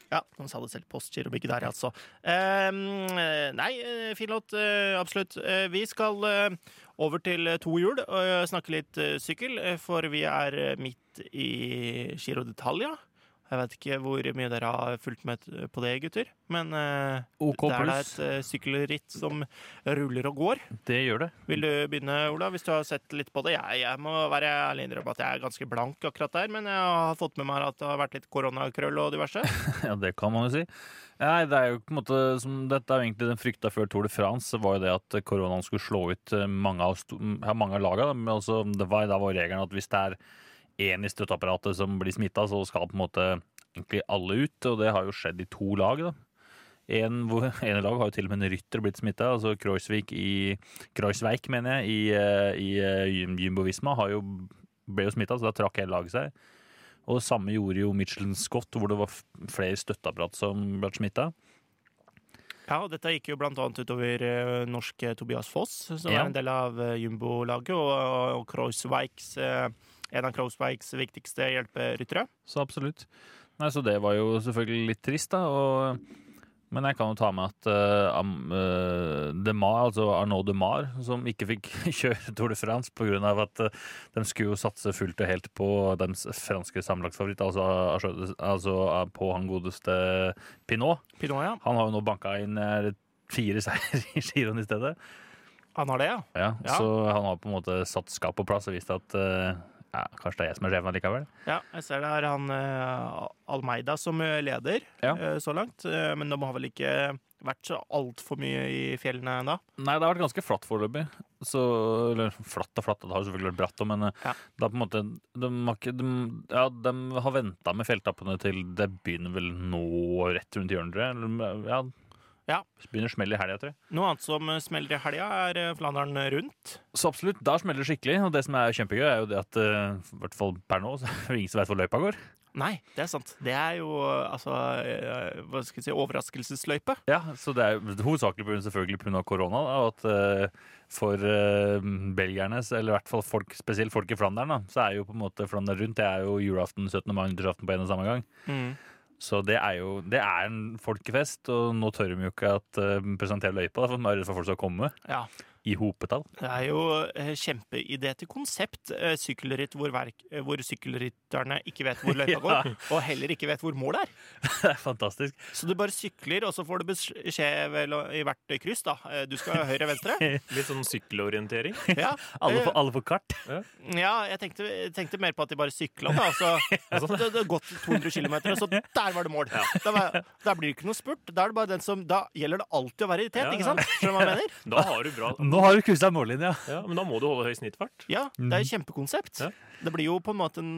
Ja, de sa det selv. Postgiro Bygg der, altså. Ehm, eh, nei, eh, fin låt. eh, Absolutt. Eh, Vi skal eh, over til eh, to hjul og eh, snakke litt eh, sykkel, eh, for vi er eh, midt i Giro d'Italia. Jeg vet ikke hvor mye dere har fulgt med t- på det, gutter. Men eh,
OK
det er da
pluss.
et eh, sykkelritt som ruller og går.
Det gjør det.
Vil du begynne, Ola, hvis du har sett litt på det? Jeg, jeg må være ærlig innrømme at jeg er ganske blank akkurat der, men jeg har fått med meg at det har vært litt koronakrøll og diverse.
<laughs> Ja, det kan man jo si. Nei, det er jo på en måte som Dette er jo egentlig den frykta før Tour de France, var jo det at koronaen skulle slå ut eh, mange av, sto- ja, mange av laga. da. Men altså, det var, da var regelen at hvis det er én i støtteapparatet som blir smitta, så skal på en måte egentlig alle ut. Og det har jo skjedd i to lag, da. En, hvor, <laughs> en i lag har jo til og med en rytter blitt smitta. Altså Kreuzvik i Kreuzveik, mener jeg, i, eh, i eh, Jumbo Visma har jo, ble jo smitta, så da trakk hele laget seg. Og det samme gjorde jo Michelin Scott, hvor det var f- flere støtteapparat som ble smitta.
Ja, og dette gikk jo blant annet utover eh, norske Tobias Foss, som
Ja.
er en del av eh, Jumbo-laget, og, og Kreuzweigs, eh, en av Kreuzweigs viktigste hjelperyttere.
Så absolutt. Nei, så det var jo selvfølgelig litt trist, da. Og, men jeg kan jo ta med at eh, Am- eh, De Mar, altså Arnaud De Mar, som ikke fikk <laughs> kjøre Tour de France pga. at eh, de skulle jo satse fullt og helt på deres franske sammenlagtfavoritt, altså, altså eh, på han godeste Pinot.
Pinot, ja.
Han har jo nå banka inn eh, fire <laughs> seier i giroen i stedet.
Han har det, ja.
Ja,
Ja.
Så han har på en måte satt skap på plass og vist at eh, ja, kanskje det er jeg som er sjefen likevel.
Ja, jeg ser det er han eh, Almeida som eh, leder
Ja.
eh, så langt, eh, men de har vel ikke vært så altfor mye i fjellene ennå.
Nei, det har vært ganske flatt foreløpig. Så, eller flatt og flatt, det har jo selvfølgelig vært bratt, også, men eh,
Ja.
det er på en måte De har, ikke, de, ja, de har venta med fjelltappene til det begynner vel nå, rett rundt hjørnet, tror jeg. Eller, eh, Ja,
Ja.
begynner smellet i helga, tror jeg.
Noe annet som eh, smeller i helga, er eh, Flandern rundt.
Så absolutt, da smeller det skikkelig. Og det som er kjempegøy, er jo det at eh, i hvert fall per nå, så er det ingen som veit hvor løypa går.
Nei, det er sant. Det er jo eh, altså eh, Hva skal jeg si Overraskelsesløype.
Ja, så det er jo hovedsakelig på grunn, selvfølgelig pga. korona. da, Og at eh, for uh, belgierne, så- eller i hvert fall folk, spesielt folk i Flandern, da, så er jo på en måte Flandern rundt det er jo julaften, 17. mai, nyttårsaften på en og samme gang.
Mm.
Så det er jo det er en folkefest, og nå tør de jo ikke at eh, presentere løypa, da, for de er redd for at folk skal komme
Ja.
i hopetall. <laughs>
Det er jo eh, kjempeidé til konsept. eh, Sykkelritt hvor, verk, eh, hvor sykkelrytterne ikke vet hvor <laughs> løypa
Ja.
går, og heller ikke vet hvor målet er.
Det er fantastisk.
Så du bare sykler, og så får du beskjed vel, i hvert kryss, da. eh, Du skal høyre-venstre. <laughs>
Litt sånn sykkelorientering.
Ja.
Alle
eh,
får, alle får kart.
ja, jeg tenkte, jeg tenkte mer på at de bare sykla, da.
<laughs>
Så,
sånn,
det, det har gått 200 km, og så der var det mål. Da, var, da blir det ikke noe spurt. Da, er det bare den som, da gjelder det alltid å være i tet,
Ja,
ikke
ja.
sant? Skjønner du hva jeg mener?
Da har du
<laughs>
bra
Nå har du kryssa mållinja!
ja, Men da må du holde høy snittfart.
Ja, det
Mm.
er jo kjempekonsept.
Ja.
Det blir jo på en måte en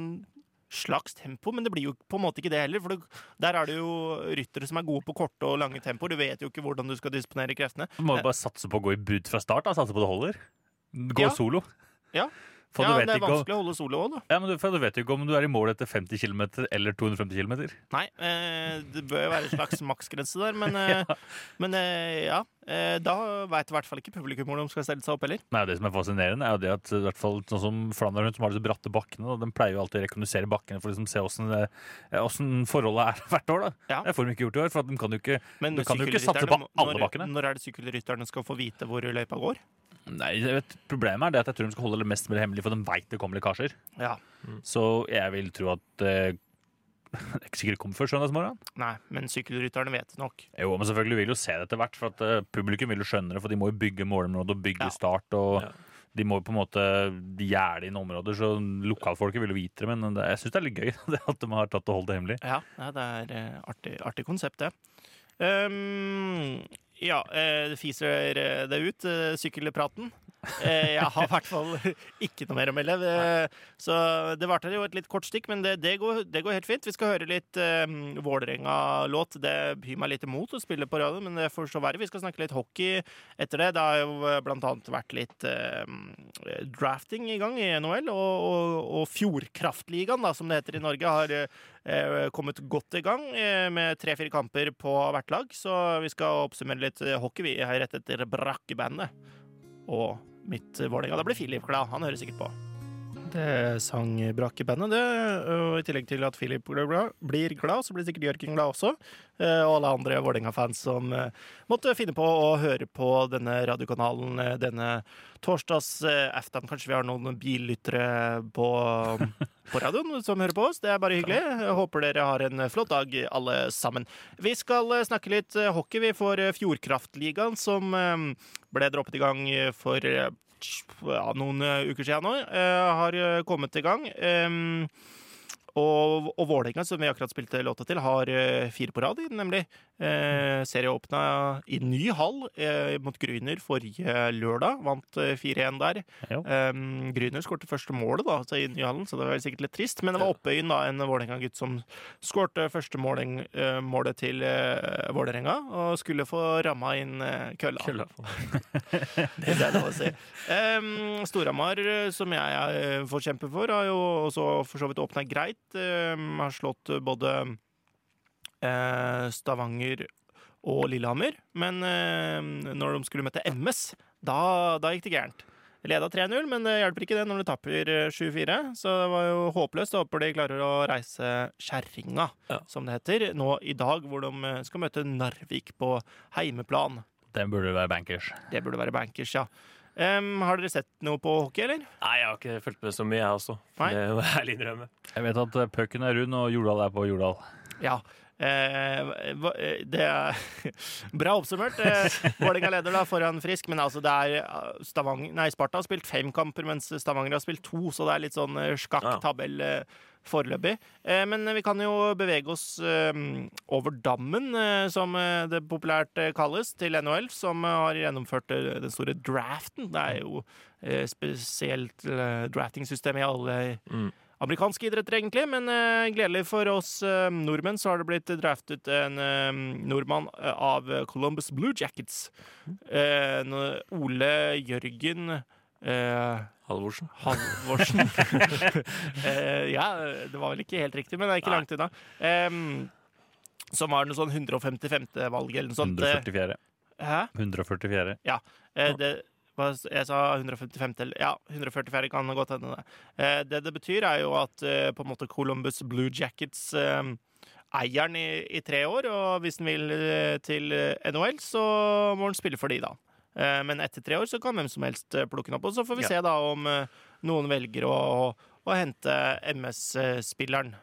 slags tempo, men det blir jo på en måte ikke det heller. For det, der er det jo ryttere som er gode på korte og lange tempoer. Du vet jo ikke hvordan du skal disponere kreftene.
Du må jo bare satse på å gå i brudd fra start. Da. Satse på det holder. Gå
Ja.
solo.
Ja.
For
ja,
du
men
vet
det er
ikke om-
vanskelig å holde solo òg, da.
Ja, men du, for du vet jo ikke om du er i mål etter 50 km eller 250 km.
Nei, eh, det bør jo være en slags maksgrense der,
<laughs>
men, eh, men eh, ja. Eh, da veit i hvert fall ikke publikum hvor de skal stelle seg opp heller.
Nei, det som er fascinerende, er jo det at i hvert fall sånn som Flandern rundt, som har disse bratte bakkene, da, de pleier jo alltid å rekognosere bakkene for å liksom se åssen det- eh, åssen forholdet er <laughs> hvert år. da.
Ja.
Det får de ikke gjort i år, for at de kan jo ikke
Men
Du kan jo ikke
sykkelrytterne
satse på
må-
alle
når,
bakkene.
Når er det sykkelrytterne skal få vite hvor løypa går?
Nei, jeg vet, Problemet er det at jeg tror de skal holde det mest mulig hemmelig, for de veit det kommer lekkasjer.
Ja,
Så jeg vil tro at eh, <laughs> det ikke sikkert kommer før søndagsmorgen.
Nei, men sykkelrytterne vet det nok.
Jo, men selvfølgelig vil jo se det etter hvert, for at eh, publikum vil jo skjønne det, for de må jo bygge målområder og bygge
Ja.
start, og
Ja.
de må jo på en måte gjerde inn områder, så lokalfolket vil jo vite det, men det, jeg synes det er litt gøy <laughs> det at de har tatt og holdt det hemmelig.
Ja, ja, det er eh, artig, artig konsept, det. Ehm, ja, eh, det fiser eh, det ut, eh, sykkelpraten. Eh, jeg har i hvert fall <laughs> ikke noe mer å melde. Eh, så det varte jo et litt kort stikk, men det, det, går, det går helt fint. Vi skal høre litt eh, Vålerenga-låt. Det byr meg litt imot å spille på radio, men det får så være. Vi skal snakke litt hockey etter det. Det har jo eh, blant annet vært litt eh, drafting i gang i NHL, og, og, og Fjordkraftligaen, da, som det heter i Norge, har eh, eh, kommet godt i gang eh, med tre-fire kamper på hvert lag. Så vi skal oppsummere litt eh, hockey vi her rett etter Brakkebandet. Og mitt eh, Vålerenga. Da blir Filip glad. Han hører sikkert på. Det sang brak i bandet, det. Og i tillegg til at Philip blir glad- blir glad, så blir sikkert Jørgen glad også. Eh, Og alle andre Vålerenga-fans som eh, måtte finne på å høre på denne radiokanalen eh, denne torsdags eh, aften. Kanskje vi har noen billyttere på, på radioen som hører på oss. Det er bare hyggelig. Jeg håper dere har en flott dag, alle sammen. Vi skal eh, snakke litt eh, hockey. Vi får eh, Fjordkraftligaen, som eh, ble droppet i gang eh, for eh, ja, noen eh, uker siden nå, eh, har eh, kommet i gang. Em, og, og Vålerenga, som vi akkurat spilte låta til, har eh, fire på rad, i den, nemlig. Eh, serieåpna i ny hall eh, mot Gryner forrige lørdag. Vant eh, 4-1 der.
Jo.
Um, Gryner skårte første målet da, altså i Nyhallen, så det var sikkert litt trist. Men det var Oppøyen, da, en Vålerenga-gutt, som skårte første måling, eh, målet til uh, Vålerenga. Og skulle få ramma inn eh, kølla.
Kølla.
<laughs> det er lov å si. Um, Storhamar, eh, som jeg eh, får kjempe for, har jo også for så vidt åpna greit. Um, har slått både eh, Stavanger og Lillehammer. Men eh, når de skulle møte MS, da, da gikk det gærent. Leda 3-0, men det hjelper ikke det når du tapper eh, 7-4. Så det var jo håpløst. Jeg Håper de klarer å reise kjerringa,
Ja.
som det heter, nå i dag, hvor de eh, skal møte Narvik på heimeplan.
Den burde være bankers.
Det burde være bankers, ja. Em, har dere sett noe på hockey, eller?
Nei, jeg har ikke fulgt med så mye, jeg også.
Nei.
Det må jeg ærlig innrømme.
Jeg vet at eh, pucken er rund, og Jordal er på Jordal.
Ja. Eh, hva- eh, det er <laughs> bra oppsummert. Eh, Vålerenga leder da foran Frisk, men altså det er eh, Stavanger, nei, Sparta har spilt fem kamper, mens Stavanger har spilt to, så det er litt sånn eh,
Ja.
skakk tabell eh, foreløpig. Eh, men vi kan jo bevege oss eh, over dammen, eh, som eh, det populært eh, kalles, til NHL, som eh, har gjennomført eh, den store draften. Det er jo eh, spesielt eh, drafting-system i alle amerikansk idrett, egentlig. Men eh, gledelig for oss eh, nordmenn så har det blitt draftet en eh, nordmann eh, av Columbus Blue Jackets. Eh, nå- Ole Jørgen eh,
Halvorsen.
Halvorsen. <laughs> eh, ja, det var vel ikke helt riktig, men det er ikke
Nei.
langt unna. Em, som var noe sånn 155. valg eller noe sånt. Eh,
144.
Hæ?
144.
Eh, det, hva, s- jeg sa 155 til Ja, 144 kan godt hende det. Eh, det det betyr, er jo at eh, på en måte Columbus Blue Jackets eh, eier den i, i tre år, og hvis den vil eh, til eh, NHL, så må den spille for de, da. Eh, men etter tre år så kan hvem som helst eh, plukke den opp, og så får vi
Ja.
se da om eh, noen velger å, å, å hente MS-spilleren.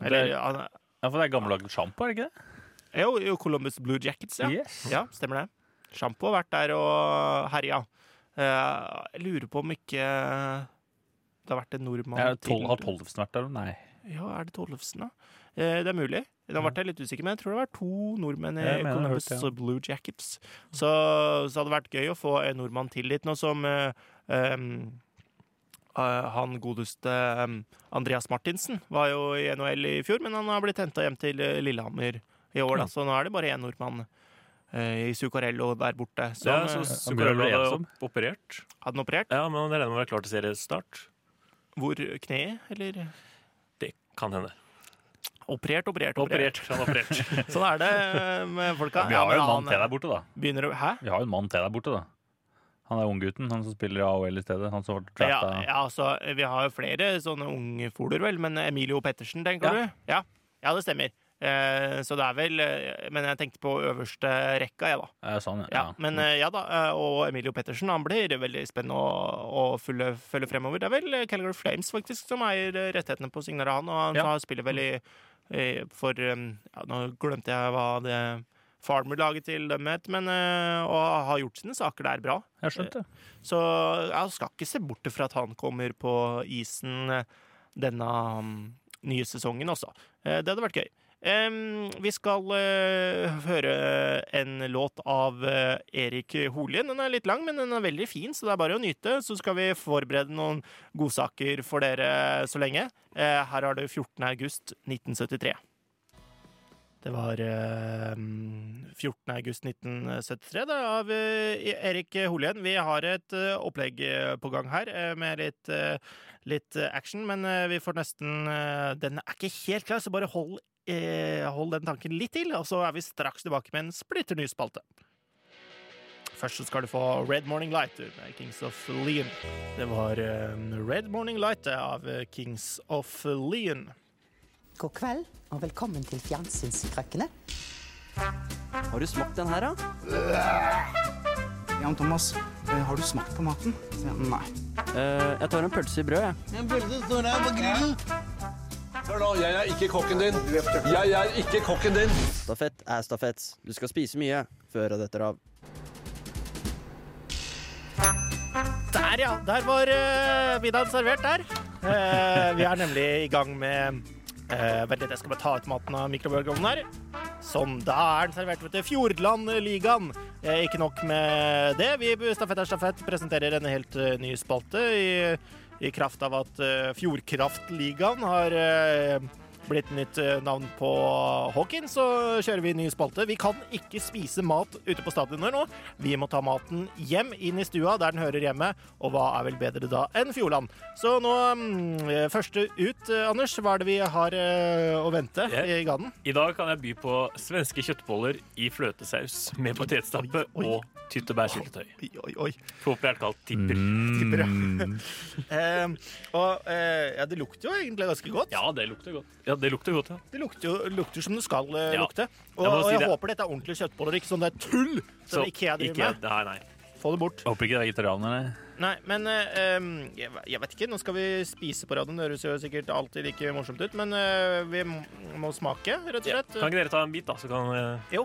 Eller
Det-
ja,
Ja, for det er gammeldags sjampo, er det ikke det?
jo, jo, Columbus Blue Jackets, ja.
Yes.
Ja, stemmer det. Sjampo har vært der og herja. Eh, Jeg lurer på om ikke det har vært en nordmann
Er det tol-
til-
Har Tollefsen vært der? Nei.
Ja, er det Tollefsen, da? Eh, Det er mulig. Det har vært jeg litt usikker, men jeg tror det har vært to nordmenn i
Jeg mener jeg har
Columbus eh,
hørt det, ja.
Blue Jackets. Så, så hadde det vært gøy å få en nordmann til dit, nå som eh, em, eh, han godeste em, Andreas Martinsen var jo i NHL i fjor, men han har blitt henta hjem til eh, Lillehammer i år, da. så nå er det bare én nordmann eh, i Zuccarello der borte. Så
Ja, så
Han begynner å
Zuccarello
bli
hadde
ensom.
opp- operert.
hadde han operert.
Ja, men jeg regner med å være klar til seriestart.
Hvor kneet, eller?
Det kan hende.
Operert, operert, operert.
Operert. Han har operert.
Sånn er det eh, med folka.
Vi har
men
jo en mann
han
til der borte, da.
Begynner å Hæ?
Vi har jo en mann til der borte, da. Han er unggutten, han som spiller i AOL i stedet. Han som ble
Ja,
drafta.
ja, altså, vi har jo flere sånne ungfoler, vel, men Emilio Pettersen, tenker du? Ja. ja, det stemmer. Eh, så det er vel eh, Men jeg tenkte på øverste rekka, jeg, da.
Ja,
Ja,
sånn, ja.
Men eh, ja da, eh, og Emilio Pettersen han blir veldig spennende å, å følge, følge fremover. Det er vel eh, Calgary Flames faktisk som eier eh, rettighetene på å signere han, og han
Ja.
har- spiller vel i i- for eh, ja, Nå glemte jeg hva det Farmer-laget til dem het, men eh, og har gjort sine saker der bra.
Jeg skjønte det.
Så jeg skal ikke se bort fra at han kommer på isen denne um, nye sesongen også. Eh, Det hadde vært gøy. Em, vi skal eh, høre en låt av eh, Erik Holien. Den er litt lang, men den er veldig fin, så det er bare å nyte. Så skal vi forberede noen godsaker for dere så lenge. Eh, her har du 14. august 1973. Det var eh, 14. august 1973 det, av eh, Erik Holien. Vi har et eh, opplegg eh, på gang her eh, med litt, eh, litt eh, action, men eh, vi får nesten eh, Den er ikke helt klar, så bare hold, eh, hold den tanken litt til, og så er vi straks tilbake med en splitter ny spalte. Først så skal du få Red Morning Light du, med Kings of Leon. Det var eh, Red Morning Light det, av eh, Kings of Leon.
God kveld, og velkommen til Fjernsynskrekkene.
Har du smakt den her, da?
Jan Thomas, eh, har du smakt på maten? Så jeg, Nei.
Eh, jeg tar en pølse i brød, jeg.
Hør nå, jeg er ikke kokken din. Jeg er ikke kokken din.
Stafett er stafett. Du skal spise mye før og detter av.
Der, ja. Der var uh, middagen servert der. Eh, vi er nemlig i gang med eh, Vent litt, jeg skal bare ta ut maten av mikrobølgeovnen her. Sånn, da er den servert vet du, Fjordlandligaen. Eh, ikke nok med det. Vi i Stafett er stafett presenterer en helt eh, ny spalte i, i kraft av at eh, Fjordkraftligaen har eh, blitt nytt eh, navn på hockeyen, så kjører vi ny spalte. Vi kan ikke spise mat ute på stadioner nå. Vi må ta maten hjem, inn i stua, der den hører hjemme. Og hva er vel bedre da enn Fjordland? Så nå, mm, eh, første ut, eh, Anders, hva er det vi har eh, å vente
Ja.
i ganen?
I dag kan jeg by på svenske kjøttboller i fløtesaus med potetstappe
Oi, oi.
og tyttebærsyltetøy.
Oi, oi, oi.
Populært kalt tipper.
Tipper, ja. eh, og eh, ja, det lukter jo egentlig ganske godt.
Ja, det lukter godt. Ja, det lukter godt, ja.
Det lukter jo lukter som det skal eh,
Ja.
lukte. Og jeg,
Jeg må
og
si
jeg
det.
håper dette er ordentlige kjøttboller, ikke sånn det er tull som Ikea driver med.
Nei, nei.
Få det bort.
Håper ikke det er vegetarianer. nei.
Nei, men eh, em, jeg, ve- jeg vet ikke. Nå skal vi spise på radioen. Det høres jo sikkert alltid like morsomt ut, men eh, vi må må smake, rett og
Ja.
slett.
Kan ikke dere ta en bit, da? Så kan, eh,
Jo.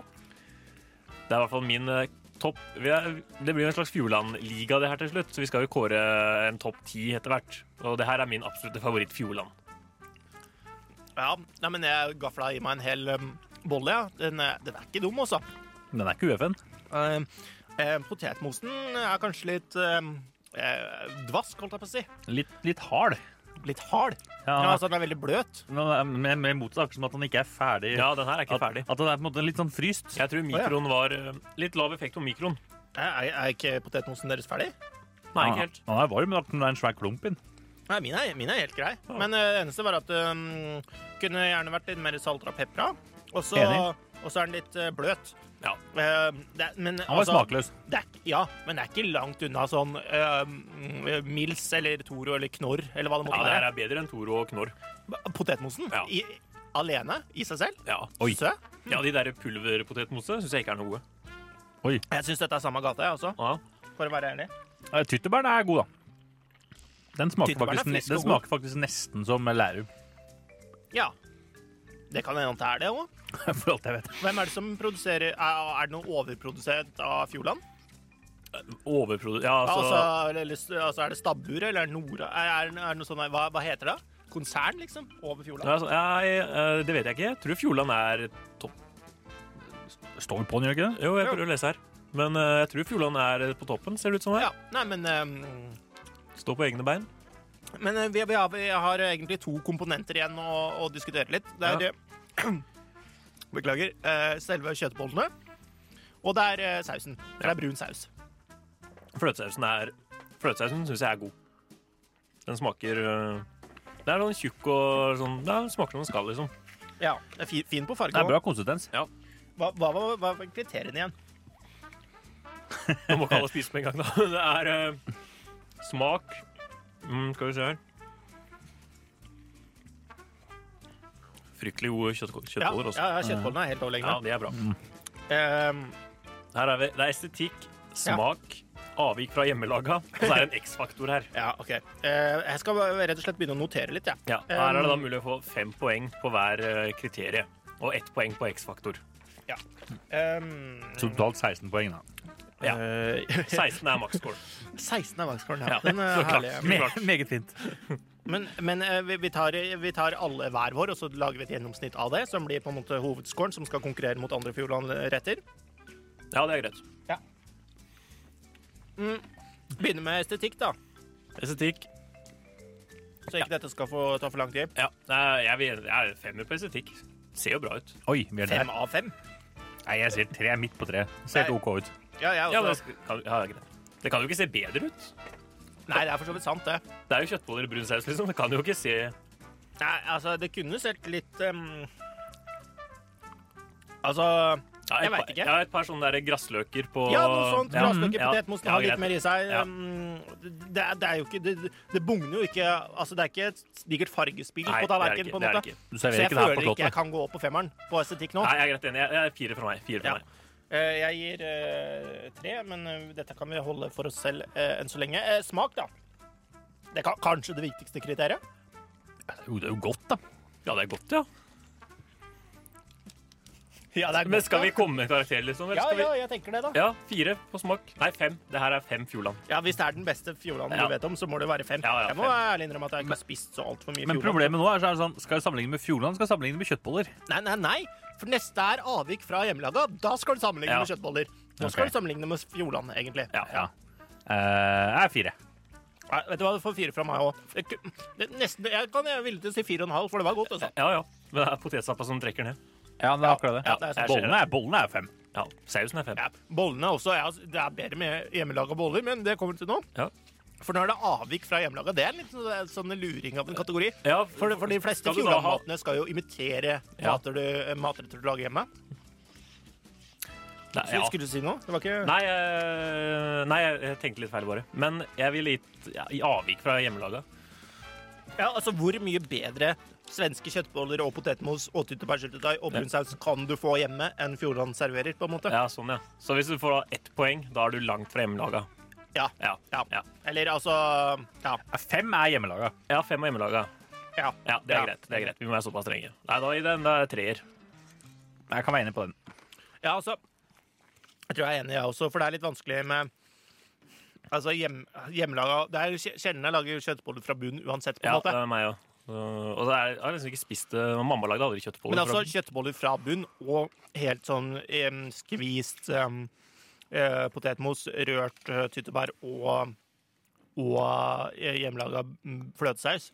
Det er i hvert fall min eh, topp vi er- Det blir jo en slags Fjordland-liga det her til slutt, så vi skal jo kåre en topp ti etter hvert. Og det her er min absolutte favoritt Fjordland.
Ja, nei, men jeg gafla i meg en hel em, bolle, ja. Den, er- den er ikke dum, altså.
Den er ikke UFN.
Eh, eh, potetmosen er kanskje litt em, eh, dvask, holdt jeg på å si.
Litt, litt hard.
Litt hard. Ja,
Ja,
altså Den er veldig bløt.
men det er med, med motsatt, akkurat som at den ikke er ferdig.
Ja, den her er ikke
at,
ferdig.
At den er på en måte litt sånn fryst.
Jeg tror mikroen var eh, litt lav effekt på mikroen.
Er, er- er ikke potetmosen deres ferdig?
Nei, ikke helt.
Den er varm, men at den er en svær klump i den.
Nei, min er, min er helt grei. Men eh, det eneste var at det kunne gjerne vært litt mer saltra pepra. Og så
Enig.
og så er den litt eh, bløt.
Ja.
Eh, det, er- men,
Han var smakløs.
Det er, ikke- ja, men det er ikke langt unna sånn eh, mm, Mils eller Toro eller Knorr eller hva det
Ja,
måtte
det her
være.
er bedre enn Toro og Knorr.
Potetmosen
Ja.
i, alene i seg selv.
Ja,
Oi.
Sø.
ja de der pulverpotetmose syns jeg ikke er noe.
Jeg syns dette er samme gate, jeg også,
Ja.
for å være ærlig.
Eh, Tyttebæren er god, da. Den smaker,
Tyttebæren er
faktisk, ne-
frisk og
den
god.
smaker faktisk nesten som lærum. <laughs>
Ja. Det kan hende at det er det òg.
For alt jeg vet.
Hvem er det som produserer Er, er det noe overprodusert av Fjordland?
Overprodu...
Ja,
Ja, altså,
Altså, eller, altså, er det stabbur, eller er det Nora? Er, er, er det noe sånn, hva, hva heter det? Konsern, liksom? Over
ja,
Fjordland?
altså jeg, eh, Det vet jeg ikke. Jeg tror Fjordland er topp.
Står på den, gjør ikke det?
Jo, jeg prøver å lese her. Men eh, jeg tror Fjordland er på toppen, ser det ut som
Ja.
her.
Nei, men ehm,
Stå på egne bein.
Men eh, vi, vi, har, vi har egentlig to komponenter igjen å, å diskutere litt. Det <clears throat> er eh, Beklager. eh, selve kjøttbollene. Og det er eh, sausen. For det er brun saus.
Fløtesausen er Fløtesausen syns jeg er god. Den smaker øh, Det er sånn tjukk og sånn Det er- smaker som den skal, liksom.
Ja, det er fi- Fin på farge.
Det er
også.
bra konsistens.
Hva, hva, hva, hva var kriteriene igjen?
Man må ikke alle spise med en gang, da. <laughs> Det er øh, smak mm, Skal vi se her Fryktelig gode kjøtt,
Ja,
kjøttboller
ja,
også.
ja kjøttbollene er helt
Ja,
overlegne.
de er bra.
Ehm,
Her er vi, det er estetikk, smak, avvik fra hjemmelaga, og så er det en X-faktor her.
ja, OK. Eh, jeg skal bare rett og slett begynne å notere litt, jeg.
Ja, her
Um,
er det da mulig å få fem poeng på hver øh, kriterie, og ett poeng på X-faktor.
Ehm,
Totalt 16 poeng, da.
Ja.
eh, <laughs>
16 er maksscore.
16 er valgskålen, ja.
Ja,
Den er
så klart.
herlig.
Me-
meget fint.
Men, men eh, vi, vi, tar, vi tar alle hver vår, og så lager vi et gjennomsnitt av det, som blir på en måte hovedskåren, som skal konkurrere mot andre Fjordland-retter.
Ja, det er greit.
Begynner med estetikk, da,
Estetikk.
så ikke dette skal få, ta for lang tid.
Ja, nei, jeg, vil- jeg er femmer på estetikk. Ser jo bra ut.
Oi, vi er der.
Fem av fem.
Nei, jeg sier tre. Midt på tre. Ser helt OK ut.
Ja, altså, jeg
Ja, men det,
også.
skal- kan, ja, det er greit. det kan jo ikke se bedre ut.
Nei, det er for så vidt sant, det.
Det er jo kjøttboller i brun saus, liksom. Det kan jo ikke se
Nei, altså, det kunne sett litt ehm, Altså
Ja, jeg vet ikke. Jeg har et par sånne der grassløker på
Ja, noe sånt.
Ja. Mm,
Grassløker,
Ja.
potetmos
Ja,
har litt
greit.
mer i seg.
Ja.
Um, Det, er- det er jo ikke Det, det bugner jo ikke Altså, det er ikke et digert fargespill
Nei,
på
det er det
tallerkenen,
ikke,
på en
det er
måte.
det ikke. Du
Så
serverer
jeg
ikke det her på
føler ikke
Slottet.
jeg kan gå opp på femmeren på estetikk nå.
Nei, jeg er greit enig. Jeg- Jeg er fire fra meg. Fire fra meg.
Eh, Jeg gir eh, tre, men eh, dette kan vi holde for oss selv eh, enn så lenge. Eh, Smak, da. Det er ka- kanskje det viktigste kriteriet.
Jo, det er jo godt, da.
Ja, det er godt, ja.
Ja, det er
Men
godt,
skal
ja.
vi komme med karakter, liksom? eller
Ja,
skal vi-
ja, jeg tenker det, da.
Ja, fire på smak. Nei, fem. Det her er fem Fjordland.
Ja, Hvis det er den beste fjordlanden
Ja.
du vet om, så må det være fem. jeg må ærlig innrømme at jeg ikke har spist så altfor mye
Men
Fjordland.
problemet nå er, så er det sånn, skal jeg sammenligne med Fjordland, skal jeg sammenligne med kjøttboller.
Nei, nei, nei. For neste er avvik fra hjemmelaga. Da skal du sammenligne
Ja.
med kjøttboller. Nå skal
Ok.
du sammenligne med Fjordland, egentlig.
Ja. Eh, er fire.
Nei, vet du hva, du får fire fra meg òg. Nesten Jeg kan jeg er villig til å si fire og en halv, for det var godt. Altså.
Ja, ja. Men det er potetsappa som trekker ned.
Ja, det er akkurat det.
Ja, det er sånn. sant.
bollene, er, bollene er fem.
Ja, sausen er fem.
Bollene også. Ja, det er bedre med hjemmelaga boller, men det kommer vi til nå. For nå er det avvik fra hjemmelaga. Det er en litt sånn- sånn luring av en kategori. for, for de fleste
skal du da ha-
fjordlandmatene skal jo imitere
Ja.
mater du, matretter du lager hjemme.
Nei,
Så Skulle du si noe? Det var ikke
Nei, eh, nei, jeg jeg tenkte litt feil, bare. Men jeg ville gitt ja, i avvik fra hjemmelaga.
Ja, altså Hvor mye bedre svenske kjøttboller og potetmos og tyttebærsyltetøy og brunsaus kan du få hjemme enn Fjordland serverer? på en måte?
Ja, sånn, ja. Så hvis du får da ett poeng, da er du langt fra hjemmelaga.
Ja.
Ja. ja.
Eller altså ja.
Fem er hjemmelaga.
Ja, fem er hjemmelaga.
Ja.
det er
Ja.
greit. det er greit. Vi må være såpass strenge. Nei, da gir den da er jeg treer.
Jeg kan være enig på den.
Ja, altså Jeg tror jeg er enig, jeg også, for det er litt vanskelig med Altså, hjem, hjemmelaga Det er jo kje- sjelden jeg lager kjøttboller fra bunn uansett, på en
Ja, det
måte.
er meg òg. Og så er, jeg har liksom ikke spist det. Mamma lagde aldri kjøttboller.
Men altså
for-
kjøttboller fra bunn og helt sånn em, skvist em, eh, potetmos, rørt eh, tyttebær og, og eh, hjemmelaga mm, fløtesaus.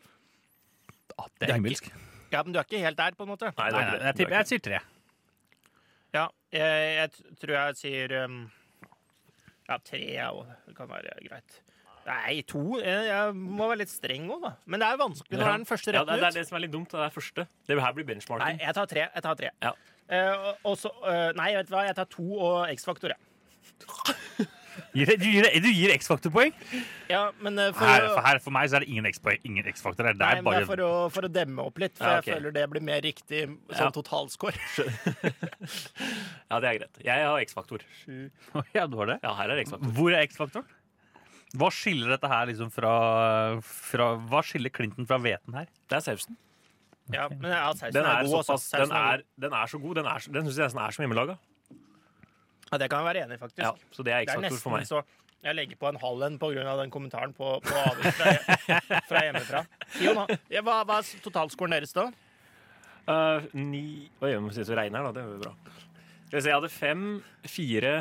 Det er himmelsk.
Ja, men du er ikke helt der, på en måte.
Nei, nei, jeg, tipper, jeg sier tre.
Ja, jeg, jeg t- tror jeg sier em, Ja, tre er jo- Det kan være greit. Nei, to. Jeg, jeg må være litt streng òg, da. Men det er vanskelig når det er den første
Ja,
retten
det, det
ut.
er det som er litt dumt. Det er første. Det her blir
Nei,
benchmarking.
jeg tar tre. Jeg tar tre.
Ja.
Eh, og- og så eh, Nei, vet du hva, jeg tar to og X-faktor, jeg.
Gir det- Du gir, det- du gir X-faktor-poeng?
Ja, men eh, for,
Her,
å-
for, her, for meg så er det ingen X-poeng, ingen X-faktor. her. Det
Nei,
er
men det er
bare
for å, for å demme opp litt, for
Ja, ok.
jeg føler det blir mer riktig
Ja.
sånn
<laughs>
totalscore.
Ja, det er greit. Jeg har X-faktor.
<laughs> Ja, du har det?
Ja, her er X-faktor.
Hvor er X-faktoren? Hva skiller dette her liksom fra, fra Hva skiller Clinton fra hveten her?
Det er sausen.
Ja, men ja, sausen
Den er,
er god.
såpass,
altså. Sausen
den,
er
er,
god.
den er så god. Den, er, så- den syns jeg nesten er som hjemmelaga.
Ja, det kan jeg være enig i, faktisk.
Ja, så det er
Det er
X-faktor for
nesten
meg.
så jeg legger på en halv en på grunn av den kommentaren på, på avvik fra,
<laughs>
fra hjemmefra. Jon, ha- ja, hva, hva er totalscoren deres, da?
Uh, ni Hva gjør vi hvis det regner, da? Det er jo bra. Skal vi se, jeg hadde fem, fire,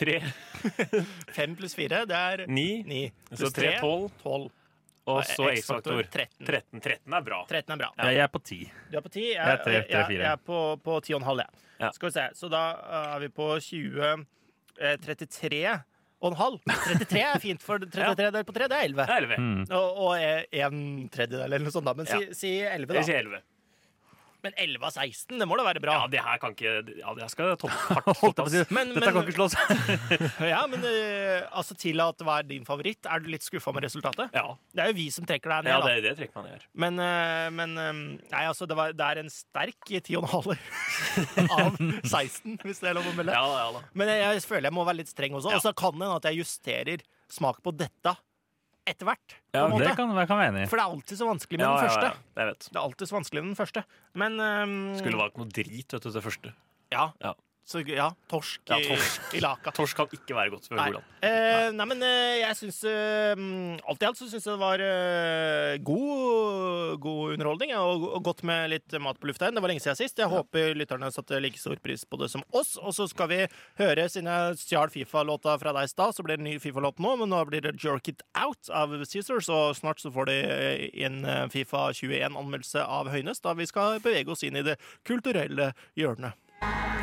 tre,
Fem pluss fire, det er
ni,
ni.
så
Pluss
tre,
tre,
tolv,
tolv.
og
Ja,
så
X-faktor,
X-faktor.
13.
13. 13 er bra.
13 er bra.
Jeg, jeg er på ti.
Du er på 10, jeg,
Jeg er tre-
jeg,
tre-
jeg,
fire.
jeg er på, på 10 og en halv, jeg.
Ja.
Skal vi se, så da eh, er vi på 20, eh, 33 og en halv. 33 er fint,
<laughs>
for 33 delt på 3, det er 11.
Det er 11.
Mm.
Og, og eh, en tredjedel eller noe sånt, da. Men si,
Ja.
si 11,
Jeg
da.
sier 11.
Men 11 av 16, det må da være bra.
Ja, det her kan ikke Ja, det her skal
<laughs>
topp- hardt
Holdt jeg på å si.
toppes.
Men-
Dette
men-
kan ikke slås.
<laughs>
Ja, men eh, altså til at hva er din favoritt? Er du litt skuffa med resultatet?
Ja,
Det er jo vi som trekker deg
ja
ned, da.
det, det trekker man gjør.
Men, eh, men eh, Nei, altså, det, var, det er en sterk 10 og en halv <laughs> av 16, hvis det er lov å melde.
Ja, ja da.
Men jeg, jeg føler jeg må være litt streng også. Og så kan det hende at jeg justerer smak på dette etter hvert. på
Ja,
en måte.
Det kan jeg kan være enig i.
For det er alltid så vanskelig med
Ja,
den
ja,
første.
ja, jeg vet.
Det er alltid så vanskelig med den første. Men øhm,
Skulle valgt noe drit, vet du, det første.
ja.
Ja.
Så, ja, torsk,
Ja,
i-
torsk.
i laka.
Torsk kan ikke være godt. for
Nei.
Golan.
Eh, nei, men eh, jeg syns eh, Alt i alt så syns jeg det var eh, god, god underholdning ja, og, og godt med litt mat på lufta igjen. Det var lenge siden sist. Jeg håper lytterne satte like stor pris på det som oss. Og så skal vi høre siden jeg stjal Fifa-låta fra deg i stad, så blir det en ny Fifa-låt nå, men nå blir det Jerk It Out av Cæsar, så snart så får de eh, en eh, Fifa 21-anmeldelse av Høynes, da vi skal bevege oss inn i det kulturelle hjørnet.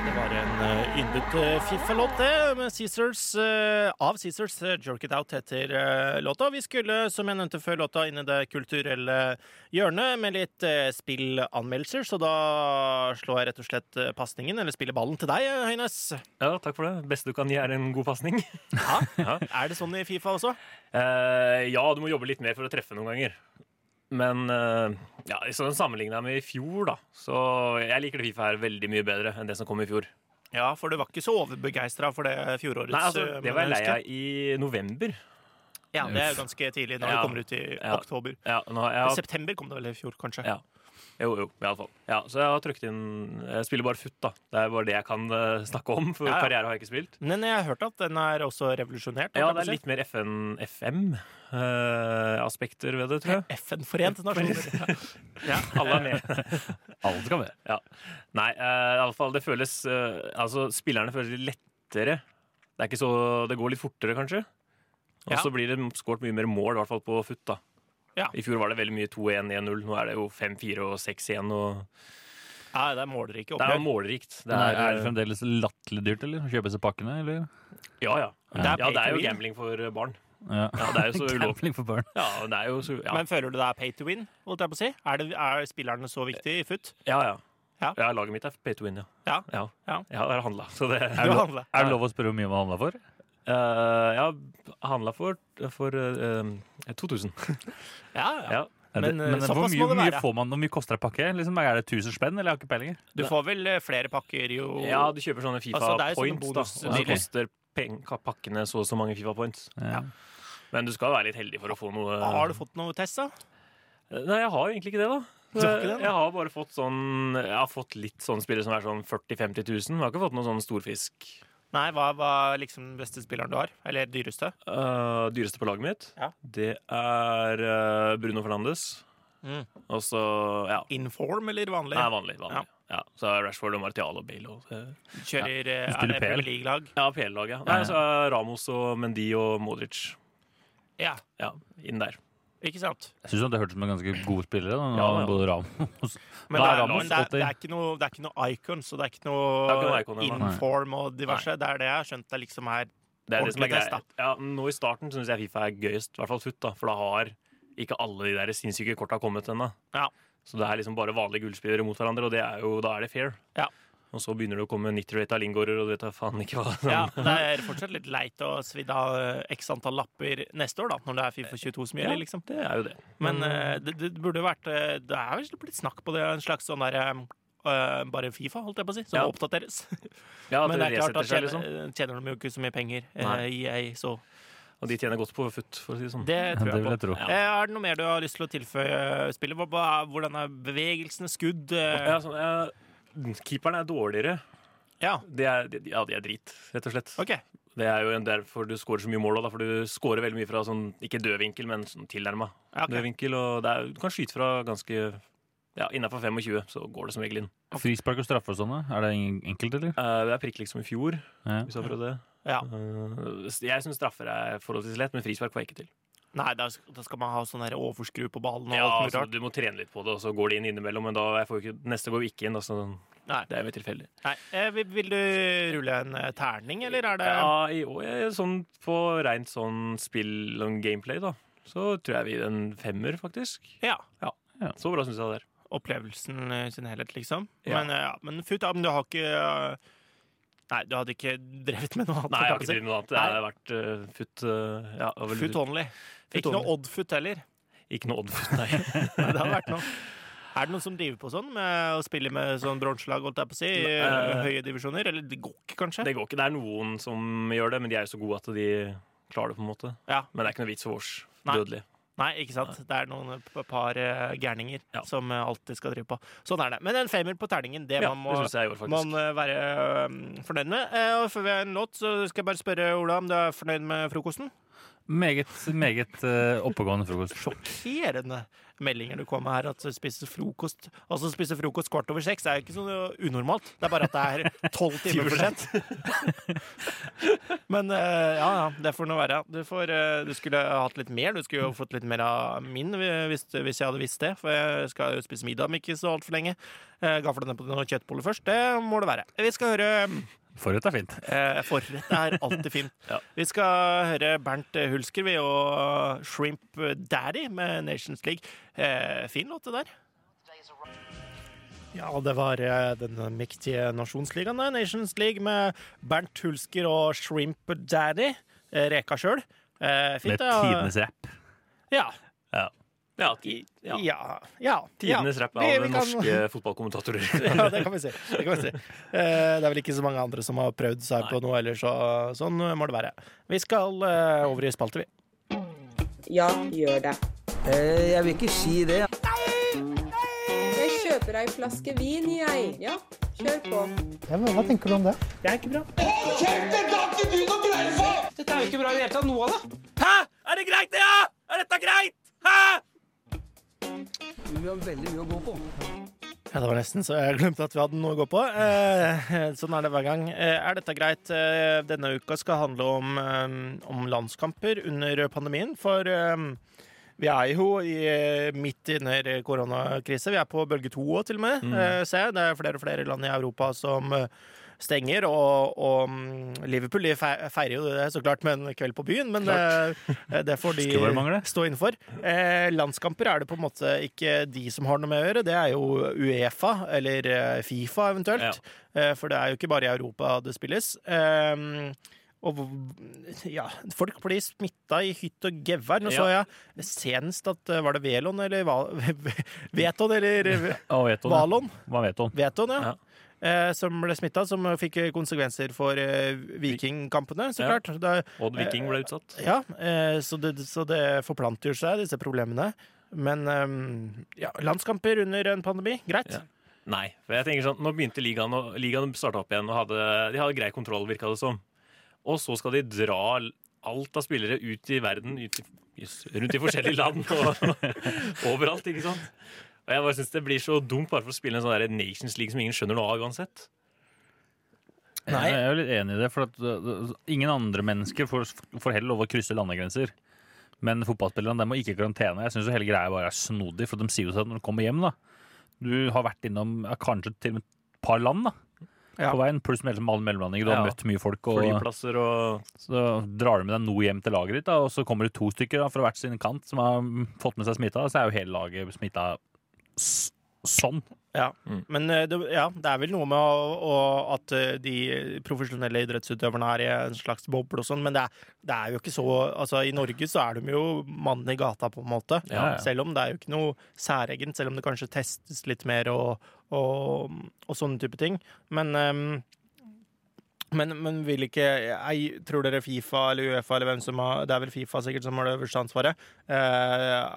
Det var en uh, yndet eh, fiffelåt, det, med Caesars, eh, av Caesars. eh, Jerk It Out heter eh, låta. Vi skulle, som jeg nevnte før låta, inn i det kulturelle hjørnet med litt eh, spillanmeldelser, så da slår jeg rett og slett uh, pasningen, eller spiller ballen til deg, eh, Høynes.
Ja, takk for det. Beste du kan gi, er en god <laughs> pasning.
Er det sånn i Fifa også?
Eh, ja, du må jobbe litt mer for å treffe noen ganger. Men eh, ja, sånn sammenligna med i fjor, da. Så jeg liker det Fifa her veldig mye bedre enn det som kom i fjor.
Ja, for du var ikke så overbegeistra for det fjorårets
Nei, altså,
eh,
Det var jeg lei
menneske.
av i november.
Ja, det er jo ganske tidlig når det kommer ut i
ja.
oktober.
Ja, nå, har jeg,
September kom det vel i fjor, kanskje.
Ja. Jo, jo, i alle fall. Ja, så jeg har trykt inn Jeg spiller bare futt, da. Det er bare det jeg kan eh, snakke om, for
Ja, ja.
karriere har jeg ikke spilt.
Men jeg har hørt at den er også revolusjonert.
Ja, det er litt mer FN-FM-aspekter eh, ved det, tror jeg.
FN Forente Nasjoner.
Ja, <laughs> alle er med.
Alle skal med.
Ja. <laughs> Nei, eh, i alle fall, det føles eh, Altså, spillerne føles litt lettere. Det er ikke så Det går litt fortere, kanskje. Og
Ja.
så blir det skåret mye mer mål, i hvert fall på futt, da.
Ja.
I fjor var det veldig mye 2-1-1-0. Nå er det jo 5-4 og 6-1 og
Ja, det er målrike
Det er eh,
oppgjør.
jo målrikt.
Men er, er det fremdeles latterlig dyrt, eller? Å kjøpe seg pakkene, eller?
Ja, ja. ja,
Det er
det er jo
pay-to-win.
gambling for eh, barn.
Ja.
Ja, <laughs> det er jo så ulovlig.
Gambling for barn.
Ja, det er jo så ja.
Men føler du det er pay to win? holdt jeg på å si? Er, det, er spillerne så viktige i futt?
Ja, ja.
Ja.
ja, laget mitt er pay to win, ja.
Ja.
Ja,
Ja.
jeg har handla. Så det
Du har handlet.
Er det lov å spørre hvor mye man handla for?
Eh, jeg har handla for, for eh, 2000.
Ja, ja.
Ja.
Er det-
Men, eh,
hvor
såpass
mye,
må det
mye
være.
får man, hvor mye koster en pakke? Liksom, er det 1000 spenn, eller? Jeg har ikke peiling.
Du får vel eh, flere pakker jo
ja, du kjøper sånne Fifa
Altså, det er jo sånne
points, da.
bonus-
Og så
dealer.
koster peng, ka- pakkene så og så mange Fifa points.
Ja.
Men du skal være litt heldig for å få noe Eh,
Har du fått noe test, da?
Nei, jeg har jo egentlig ikke det, da.
Du har ikke det, da?
jeg har bare fått sånn Jeg har fått litt sånne spillere som er sånn 40 000-50 000. Jeg har ikke fått noen sånn storfisk.
Nei, hva var liksom den beste spilleren du har? Eller dyreste?
Eh, dyreste på laget mitt,
Ja.
det er eh, Bruno Fernandes.
Mm.
Og så, ja
Inform eller vanlig?
Nei, vanlig. vanlig. Ja. Så er Rashford og Martial og Bale og eh,
Kjører eh,
Du spiller
er det
PL.
Premier League-lag?
Ja, PL-laget. Ja. Nei,
Ja, ja.
så er Ramos og Mendy og Modric.
Ja,
Ja, inn der.
ikke sant?
Jeg syns det hørtes ut som en ganske god spillere. Da,
Ja, ja.
Både Ramos
Men det
Da
er,
er Ramos
men det,
gått
er, det,
inn.
er ikke noe, det er ikke noe icons, og det er ikke
Det er ikke
noe,
noe icon, ja, nei.
inform og diverse. Det er det jeg har skjønt det liksom er
Det er det som er
Ordentlig test,
greit. Ja, nå i starten syns jeg Fifa er gøyest, i hvert fall FUT, da, for da har ikke alle de der sinnssyke korta kommet ennå.
Ja.
Så det er liksom bare vanlige gullspillere mot hverandre, og det er jo, da er det fair.
Ja.
Og så begynner det å komme 90-rata lingårder, og du vet da faen ikke hva
Ja, det er fortsatt litt leit å svidde av eh, x antall lapper neste år, da, når det er Fifa 22 som gjelder, liksom.
Det er jo det.
Men eh, det, det burde jo vært eh, Det er vel blitt snakk på det, en slags sånn derre bare Fifa, holdt jeg på å si, som
Ja.
må oppdateres.
Ja,
Men det er klart, da
resetter seg,
tjener,
liksom.
tjener de jo ikke så mye penger,
Nei.
eh, EA, så
Og de tjener godt på FUT, for å si det sånn.
det tror
<laughs> det
jeg på.
vil jeg tro.
Ja.
Eh, Er det noe mer du har lyst til å tilføye eh, spillet? Hva- hva- Hvordan er bevegelsene, skudd? eh,
Ja, sånn, ja, keeperne er dårligere.
Ja,
De er, de, ja, de er drit, rett og slett.
ok.
Det er jo en- derfor du scorer så mye mål, også, da, for du scorer veldig mye fra sånn, ikke død vinkel, men sånn tilnærma
Ja, ok.
død vinkel. Og det er, du kan skyte fra ganske ja, innafor 25, så går det som regel inn.
Frispark og straffe og sånne, er det en- enkelt, eller?
Eh, det er prikk liksom i fjor,
Ja.
hvis du har prøvd det.
Ja.
Eh, jeg syns straffer er forholdsvis lett, men frispark får jeg ikke til.
Nei, da, sk- da skal man ha sånn der overskru på ballen og
Ja,
alt mulig
altså,
rart.
du må trene litt på det, og så går det inn innimellom, men da jeg får jo ikke, neste går jo ikke inn. da, så
Nei.
det er jo litt tilfeldig.
Nei. Eh, vil- Vil du rulle en eh, terning, eller er det
Ja, i år, eh, sånn på rent sånn spill og gameplay, da, så tror jeg vi gir en femmer, faktisk.
Ja.
Så bra syns jeg det er.
Opplevelsen eh, i sin helhet, liksom.
Ja.
Men, eh, ja. men futt, ja, men du har ikke eh, Nei, du hadde ikke drevet med noe annet.
Nei, jeg har
kan
ikke drevet med noe annet. Det
Nei.
har vært uh, futt uh, ja, det var
si.
vel-
Futt only.
Futt
Ikke noe
only.
oddfutt heller.
Ikke noe
<laughs>
oddfutt, nei.
Nei, det hadde vært noe. Er det noen som driver på sånn, med å spille med sånn bronselag, holdt jeg på å si, i eh, høye divisjoner? Eller det går ikke, kanskje?
Det går ikke. Det er noen som gjør det, men de er jo så gode at de klarer det, på en måte.
Ja.
Men det er ikke noe vits for oss
Nei.
dødelige.
Nei, ikke sant. Det er noen p- par eh, gærninger
Ja.
som eh, alltid skal drive på. Sånn er det. Men en femmer på terningen, det
Ja,
man må
det syns jeg i år, faktisk.
man eh, være eh, fornøyd med. Eh, og før vi har en låt, så skal jeg bare spørre Ola om du er fornøyd med frokosten.
Meget, meget eh, oppegående frokost.
Sjokkerende meldinger du kom med her, at spise frokost Altså spise frokost kvart over seks er jo ikke så unormalt. Det er bare at det er tolv <laughs> timer for sent. Men eh, ja, ja, det får nå være. Du, får, eh, du skulle hatt litt mer. Du skulle jo fått litt mer av min hvis, hvis jeg hadde visst det. For jeg skal jo spise middag om ikke så altfor lenge. Uh, Gafla ned på noen kjøttboller først. Det må det være. Vi skal høre
Forrett er fint.
Eh, forrett er alltid fint. Vi skal høre Bernt Hulsker ved å Shrimp Daddy med Nations League. Eh, fin låt, det der. Ja, det var eh, den mektige nasjonsligaen, det. Nations League med Bernt Hulsker og Shrimp Daddy. Eh, Reka sjøl. Eh, fint,
Med
ja.
tidenes rapp.
Ja.
Ja.
Ja, ti,
Ja. ja.
Tidenes rapp av
Det- vi kan-
norske fotballkommentatorer.
<laughs> ja, det kan vi si. Det, kan vi si. Eh, det er vel ikke så mange andre som har prøvd seg på noe heller, så sånn må det være. Vi skal eh, over i spalte, vi.
Ja, gjør det.
Eh, jeg vil ikke si det.
Jeg kjøper ei flaske vin, jeg. Ja, kjør på.
Hva tenker du om det?
Det er ikke bra.
Kjeften, da ikke du noe greie på!
Dette er jo ikke bra i det hele tatt, noe av det.
Hæ? Er det greit, det, ja? Er dette greit? Hæ?
Vi har veldig mye å gå på.
Ja, det var nesten så jeg glemte at vi hadde noe å gå på. Eh, sånn er det hver gang. Eh, er dette greit? Eh, denne uka skal handle om, eh, om landskamper under pandemien, for eh, vi er jo i, eh, midt under koronakrisa. Vi er på bølge to òg, til og med.
Mm.
Eh, ser jeg. Det er flere og flere land i Europa som eh, stenger, og, og mm, Liverpool de fe- feirer jo det så klart med en kveld på byen, men eh,
Klart.
det, det får de
Skulle bare mangle.
stå innenfor. Eh, landskamper er det på en måte ikke de som har noe med å gjøre, det er jo Uefa eller eh, Fifa eventuelt. Eh, for det er jo ikke bare i Europa det spilles. Eh, og hvor- ja, folk blir smitta i hytt og gevær. Nå så
Ja.
jeg senest at eh, Var det Velon eller Val- <laughs> Veton eller
Og vet du det?
Valon?
Hva vet hun?
Veton, ja. Eh, som ble smitta, som fikk konsekvenser for eh, vikingkampene, så
Ja.
klart. Det-
<laughs> Odd Viking ble utsatt.
ja, eh, så det, så det forplanter jo seg, disse problemene. Men eh, ja, landskamper under en pandemi, greit.
Nei. For jeg tenker sånn, Nå begynte ligaen, og ligaen starta opp igjen, og hadde, de hadde grei kontroll, virka det som. Og så skal de dra l- alt av spillere ut i verden, ut i, jøss, rundt i forskjellige land og <laughs> overalt, ikke sant? Og jeg bare synes Det blir så dumt bare for å spille en sånn der Nations League som ingen skjønner noe av uansett.
Eh, Jeg er jo litt enig i det, for at uh, ingen andre mennesker får, får heller lov å krysse landegrenser. Men fotballspillerne de må ikke i karantene. Jeg syns hele greia bare er snodig, for de sier jo seg når de kommer hjem, da. Du har vært innom ja, kanskje til og med et par land, da. På veien, pluss mellom alle mellomlandinger. Du har
Ja.
møtt mye folk. Og
Flyplasser og
Så drar du med deg noe hjem til laget ditt, da, og så kommer det to stykker da, fra hvert sin kant som har mm, fått med seg smitta. Så er jo hele laget smitta s- sånn.
Ja. Men eh, det, ja, det er vel noe med å, å, at eh, de profesjonelle idrettsutøverne er i en slags boble og sånn, men det er, det er jo ikke så Altså, i Norge så er de jo mannen i gata, på en måte.
Ja, ja.
Selv om det er jo ikke noe særegent, selv om det kanskje testes litt mer og, og, og sånne type ting. Men ehm, men, men vil ikke jeg, Tror dere Fifa eller Uefa eller hvem som har Det er vel Fifa sikkert som har det øverste ansvaret. Eh,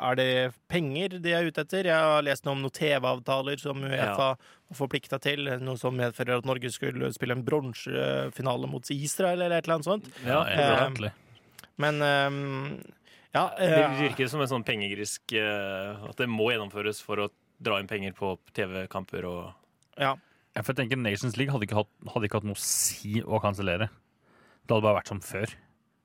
er det penger de er ute etter? Jeg har lest noe om noen TV-avtaler som Uefa var forplikta til. Noe som medfører at Norge skulle spille en bronsefinale mot Israel eller et eller annet sånt.
Ja, jeg tror det er
Eh,
ordentlig.
men ehm, ja,
Det
eh,
virker som en sånn pengegrisk eh, At det må gjennomføres for å dra inn penger på TV-kamper og
ja.
Ja, for jeg tenker Nations League hadde ikke hatt, hadde ikke hatt noe å si å kansellere. Det hadde bare vært som før.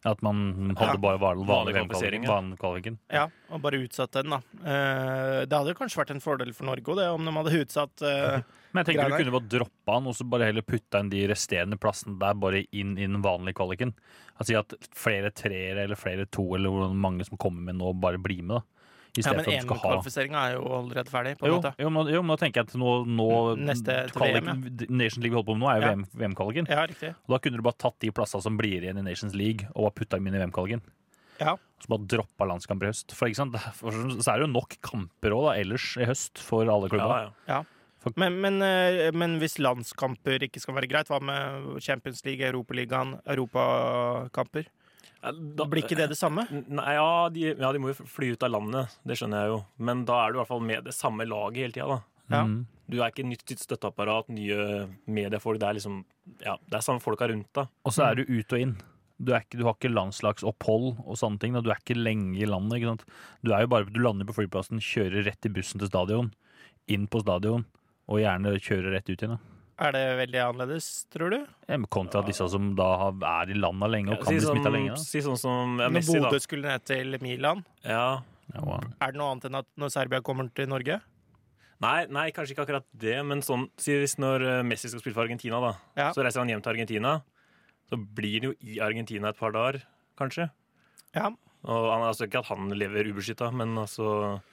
At man hadde
Ja.
bare vanlig,
Vanlig
vanlig
kvalifisering,
VM-kvaliken.
ja.
Vanlig kvaliken.
Ja, og bare utsatt den, da. Eh, det hadde jo kanskje vært en fordel for Norge òg, det, om de hadde utsatt
<laughs>
eh,
Men jeg tenker
greiene.
du kunne bare droppa han, og så bare heller putta inn de resterende plassene der bare inn i den vanlige kvaliken. Altså at flere treere eller flere to eller hvor mange som kommer med nå, bare blir med, da. I
Ja,
stedet
men
for at du skal ha
EM-kvalifiseringa er jo allerede ferdig, på en
jo,
måte.
jo, men, jo, men da tenker jeg at nå, nå
Neste til
kvalik-
VM,
Nations League vi holder på med nå, er jo
Ja.
VM VM-kvaliken.
Ja, riktig.
Og da kunne du bare tatt de plassene som blir igjen i Nations League, og bare putta dem inn i VM-kvaliken.
Ja.
Så bare droppa landskamper i høst. For, ikke sant? for så er det jo nok kamper òg, da, ellers i høst, for alle klubber.
Ja. Men, men, eh, men hvis landskamper ikke skal være greit, hva med Champions League, Europaligaen, europakamper?
Da
blir ikke det det samme?
Nei, ja de, ja, de må jo fly ut av landet, det skjønner jeg jo. Men da er du i hvert fall med det samme laget hele tida, da.
Ja.
Mm.
Du er ikke nytt nytt støtteapparat, nye mediefolk. Det er liksom Ja, det er samme folka rundt deg.
Og så er du ut og inn. Du, er ikke, du har ikke landslagsopphold og sånne ting. Da. Du er ikke lenge i landet. Ikke sant? Du, er jo bare, du lander på flyplassen, kjører rett til bussen til stadion, inn på stadion, og gjerne kjører rett ut igjen. Da.
Er det veldig annerledes, tror du?
Ja, men Kontra disse som da har- er i landa lenge og kan
si
bli smitta
sånn-
lenge. Da.
Si sånn som ja,
Når
Messi, da.
Bodø skulle ned til Milan,
Ja.
er det noe annet enn at når Serbia kommer til Norge?
Nei, nei, kanskje ikke akkurat det, men sånn, si hvis når eh, Messi skal spille for Argentina, da, så reiser han hjem til Argentina. Så blir han jo i Argentina et par dager, kanskje.
Ja.
Og han, altså Ikke at han lever ubeskytta, men altså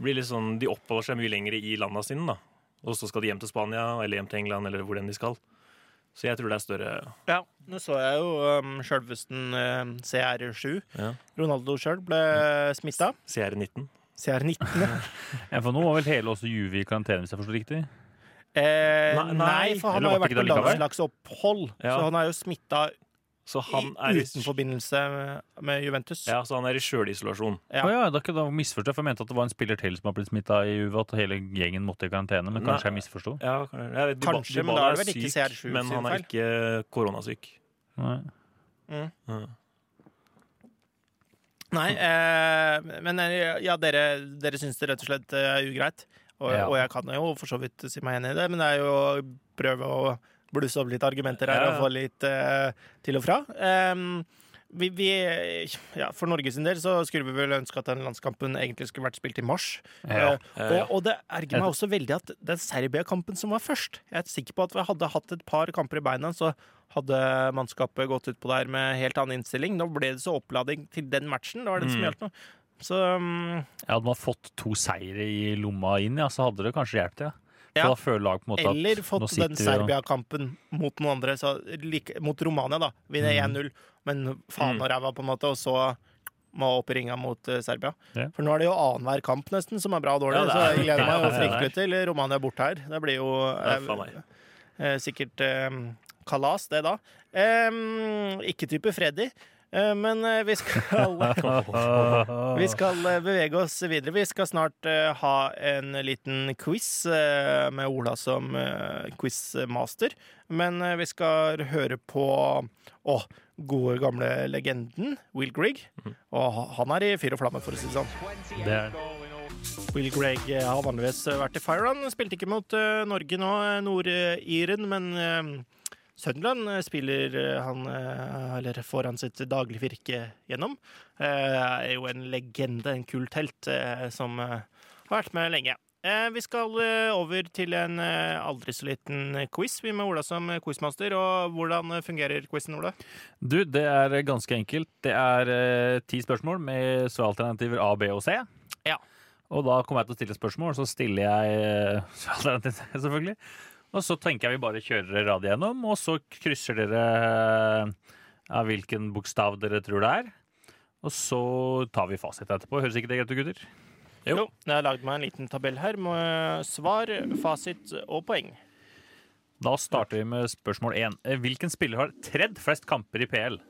blir litt sånn, De oppholder seg mye lenger i landa sine, da. Og så skal de hjem til Spania eller hjem til England eller hvor enn de skal. Så jeg tror det er større
Ja, nå så jeg jo um, sjølvesten um, CR7.
Ja.
Ronaldo sjøl ble smitta.
CR19.
CR19, ja.
Ja, for nå var vel hele også Juve i karantene, hvis jeg forstår riktig?
Eh, nei,
Nei, nei.
for han
Eller
har jo
var
vært på
det ikke det allikevel?
landslagsopphold,
Ja.
så han er jo smitta
Så han er i-
uten forbindelse med, med Juventus.
Ja, så han er i sjølisolasjon.
Å ja, da, da misforstod jeg, for jeg mente at det var en spiller til som har blitt smitta i Juve, at hele gjengen måtte i karantene, men kanskje jeg
Nei.
misforsto?
Ja, jeg vet,
Kanskje,
Dybala-
men da er det
Dybala
vel ikke
syk,
CR7
Men
sin
han er
feil.
ikke koronasyk.
Nei.
Mm.
Ja.
Nei, eh, men eh, ja, dere, dere syns det rett og slett eh, er ugreit. Og,
Ja.
og jeg kan jo for så vidt si meg enig i det, men det er jo å prøve å blusse opp litt argumenter her
Ja,
og
ja.
få litt eh, til og fra. Em, vi, vi, ja, for Norge sin del så skulle vi vel ønske at den landskampen egentlig skulle vært spilt i mars. Eh,
Ja. Ja.
og, og det ergrer meg også veldig at den Serbia-kampen som var først Jeg er sikker på at vi hadde hatt et par kamper i beina, så hadde mannskapet gått utpå der med helt annen innstilling. Nå ble det så opplading til den matchen. Det var det som
Mm.
gjaldt noe. Så um,
Ja, Hadde man fått to seire i lomma inn, ja, så hadde det kanskje hjulpet. Ja. For
Ja.
da føler lag på en måte at
Eller
nå
fått
sitter
den
vi og-
Serbia-kampen mot noen andre. Så, like, mot Romania, da. Vinne
Mm.
1-0, men faen og ræva, på en måte. Og så må opp i ringa mot eh, Serbia.
Ja.
For nå er det jo annenhver kamp nesten som er bra og dårlig,
Ja, det
så
er-
jeg gleder meg
Ja,
jo
det er-
fryktelig til Romania bort her. Det blir jo
Ja,
eh,
faen meg.
eh, sikkert eh, kalas, det da. Em, ikke type Freddy. eh, Men eh, vi skal, vi skal eh, bevege oss videre. Vi skal snart eh, ha en liten quiz eh, med Ola som eh, quizmaster. Men eh, vi skal høre på Å, gode gamle legenden Will Grigg. Og ha- han er i fyr og flamme, for å si det sånn.
Det er-
Will Greg eh, har vanligvis vært i Fireland. Spilte ikke mot eh, Norge nå, eh, Nord-Iren, men eh, Sunderland eh, spiller eh, han eh, Eller får han sitt daglig virke gjennom. Eh, Er jo en legende, en kult helt, eh, som eh, har vært med lenge. Eh, Vi skal eh, over til en eh, aldri så liten quiz. Vi med Ola som eh, quizmaster. Og hvordan eh, fungerer quizen, Ola?
Du, det er ganske enkelt. Det er eh, ti spørsmål med svaralternativer A, B og C.
Ja.
Og da kommer jeg til å stille spørsmål, så stiller jeg eh, <laughs> svaralternativ C, selvfølgelig. Og så tenker jeg vi bare kjører radet gjennom, og så krysser dere eh, av hvilken bokstav dere tror det er. Og så tar vi fasit etterpå. Høres ikke det greit ut, gutter?
Jo. Jeg har lagd meg en liten tabell her med eh, svar, fasit og poeng.
Da starter vi med spørsmål 1. Hvilken spiller har tredd flest kamper i PL?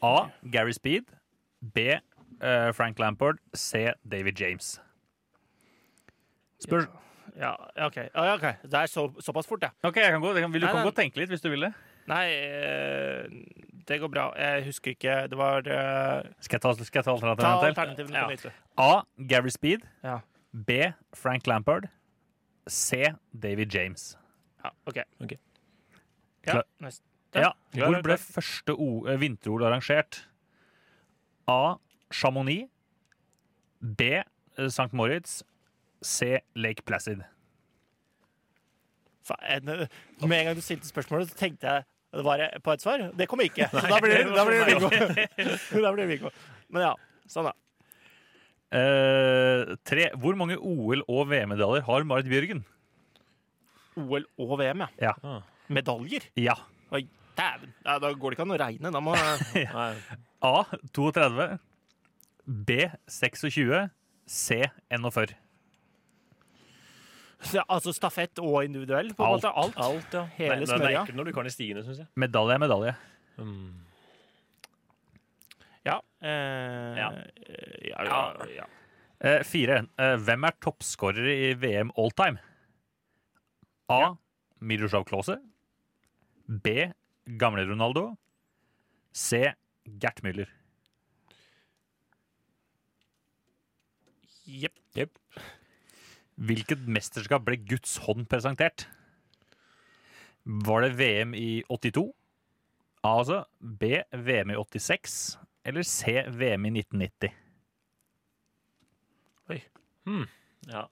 A. Gary Speed. B. eh, Frank Lampard. C. David James. Spør...
Ja, OK. Ja, ok. Det er så, såpass fort, ja.
OK, jeg kan gå. Det kan- Vil du
Nei,
kan
nei.
godt tenke litt hvis du vil det?
Nei, eh, det går bra. Jeg husker ikke. Det var eh,
Skal jeg ta, skal jeg ta
Ta
alternativene til?
alternativene på nytt. du.
A. Gary Speed.
Ja.
B. Frank Lampard. C. David James.
Ja, OK.
Ok.
Ja,
Klar.
neste.
Ja.
Klar,
Hvor ble
klar.
første O- eh, vinter-OL arrangert? A. Chamonix. B. eh, St. Moritz. C. Lake Placid.
Faen, eh, Med en gang du stilte spørsmålet, så tenkte jeg det var eh, på et svar. Det kom
<laughs>
ikke. Så da blir det- da blir det Viggo. <laughs> Da blir det Viggo. Men ja. Sånn, da.
Eh, tre. Hvor mange OL- og VM-medaljer har Marit Bjørgen?
OL og VM, ja.
Ja.
Medaljer?
ja.
Oi, dæven. Ja, da går det ikke an å regne.
<laughs>
Da må <laughs>
A. 32. B. 26. C. 41.
Ja, Altså stafett og individuell, på en
Alt.
måte. Alt.
Alt, ja.
Hele
Nei, Det er
smørja.
ekkelt når du kan de stigende, syns jeg.
Medalje er medalje.
Ja. Eh,
Ja.
eh, ja, ja, ja.
Eh, fire. Eh, hvem er toppskårer i VM all time? A. Miroslav Klause. B. Gamle Ronaldo. C. Gert Müller.
Jepp.
Hvilket mesterskap ble Guds hånd presentert? Var det VM i 82? A, altså. B. VM i 86. Eller C. VM i 1990.
Oi. Hmm. Ja.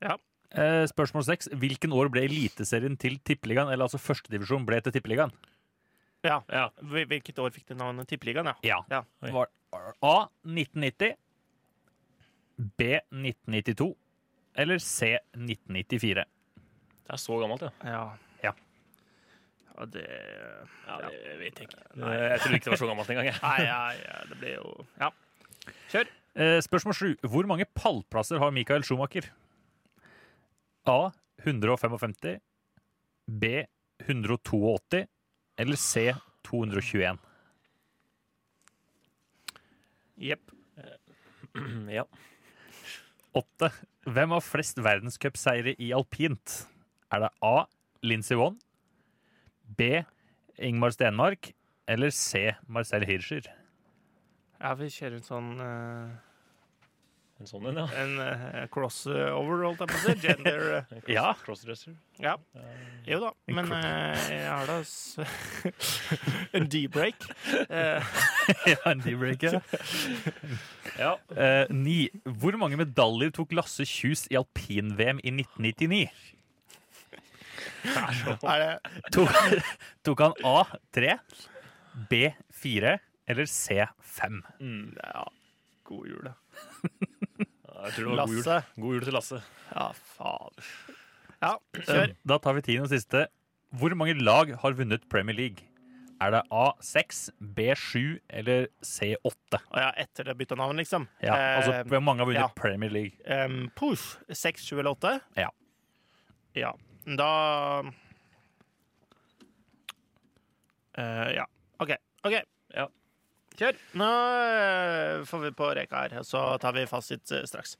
Ja.
Eh, spørsmål seks. Hvilken år ble Eliteserien til Tippeligaen, eller altså førstedivisjon, ble til Tippeligaen?
Ja. Hvil- Hvilket år fikk det navnet Tippeligaen?
Ja. Var A 1990, B 1992 eller C 1994?
Det er så gammelt, ja.
Ja.
Ja.
Ja, det
Ja, det vet jeg ikke. Jeg trodde ikke det var så gammelt engang. jeg.
Nei, ja, ja, det ble jo Ja. Kjør.
Eh, Spørsmål sju. Hvor mange pallplasser har Mikael Schumacher? A 155, B 182 eller C 221?
Jepp.
Eh, <clears throat> Ja.
Åtte. Hvem har flest verdenscupseire i alpint? Er det A. Lincy Wonn, B. Ingmar Stenmark eller C. Marcel Hirscher?
Ja, vi kjører en sånn eh,
En sånn en, ja.
En eh, crossover, holdt jeg på å si. Gender eh.
Ja. Crossdresser.
Ja. Jo <laughs> da, men eh, jeg har da s- <laughs> en D-break. Eh,
<laughs> ja, en D-break, ja. Eh, ni. Hvor mange medaljer tok Lasse Kjus i alpin-VM i 1999?
Er det
Tok, <laughs> tok han A. 3, B. 4 eller C. 5?
Ja, god jul, da.
Jeg tror det var god jul.
Lasse.
God jul til Lasse.
Ja, faen. Ja,
Eh,
kjør.
Da tar vi tiende og siste. Hvor mange lag har vunnet Premier League? Er det A6, B7 eller C8?
Å ja, etter det bytta navn, liksom.
Ja, altså
Eh,
hvor mange har vunnet
ja.
Premier League?
Em, push. 6, 7 eller 8?
Ja.
Ja. Da Eh, Ja. OK. OK. Kjør. Nå eh, får vi på reka her, så tar vi fasit eh, straks.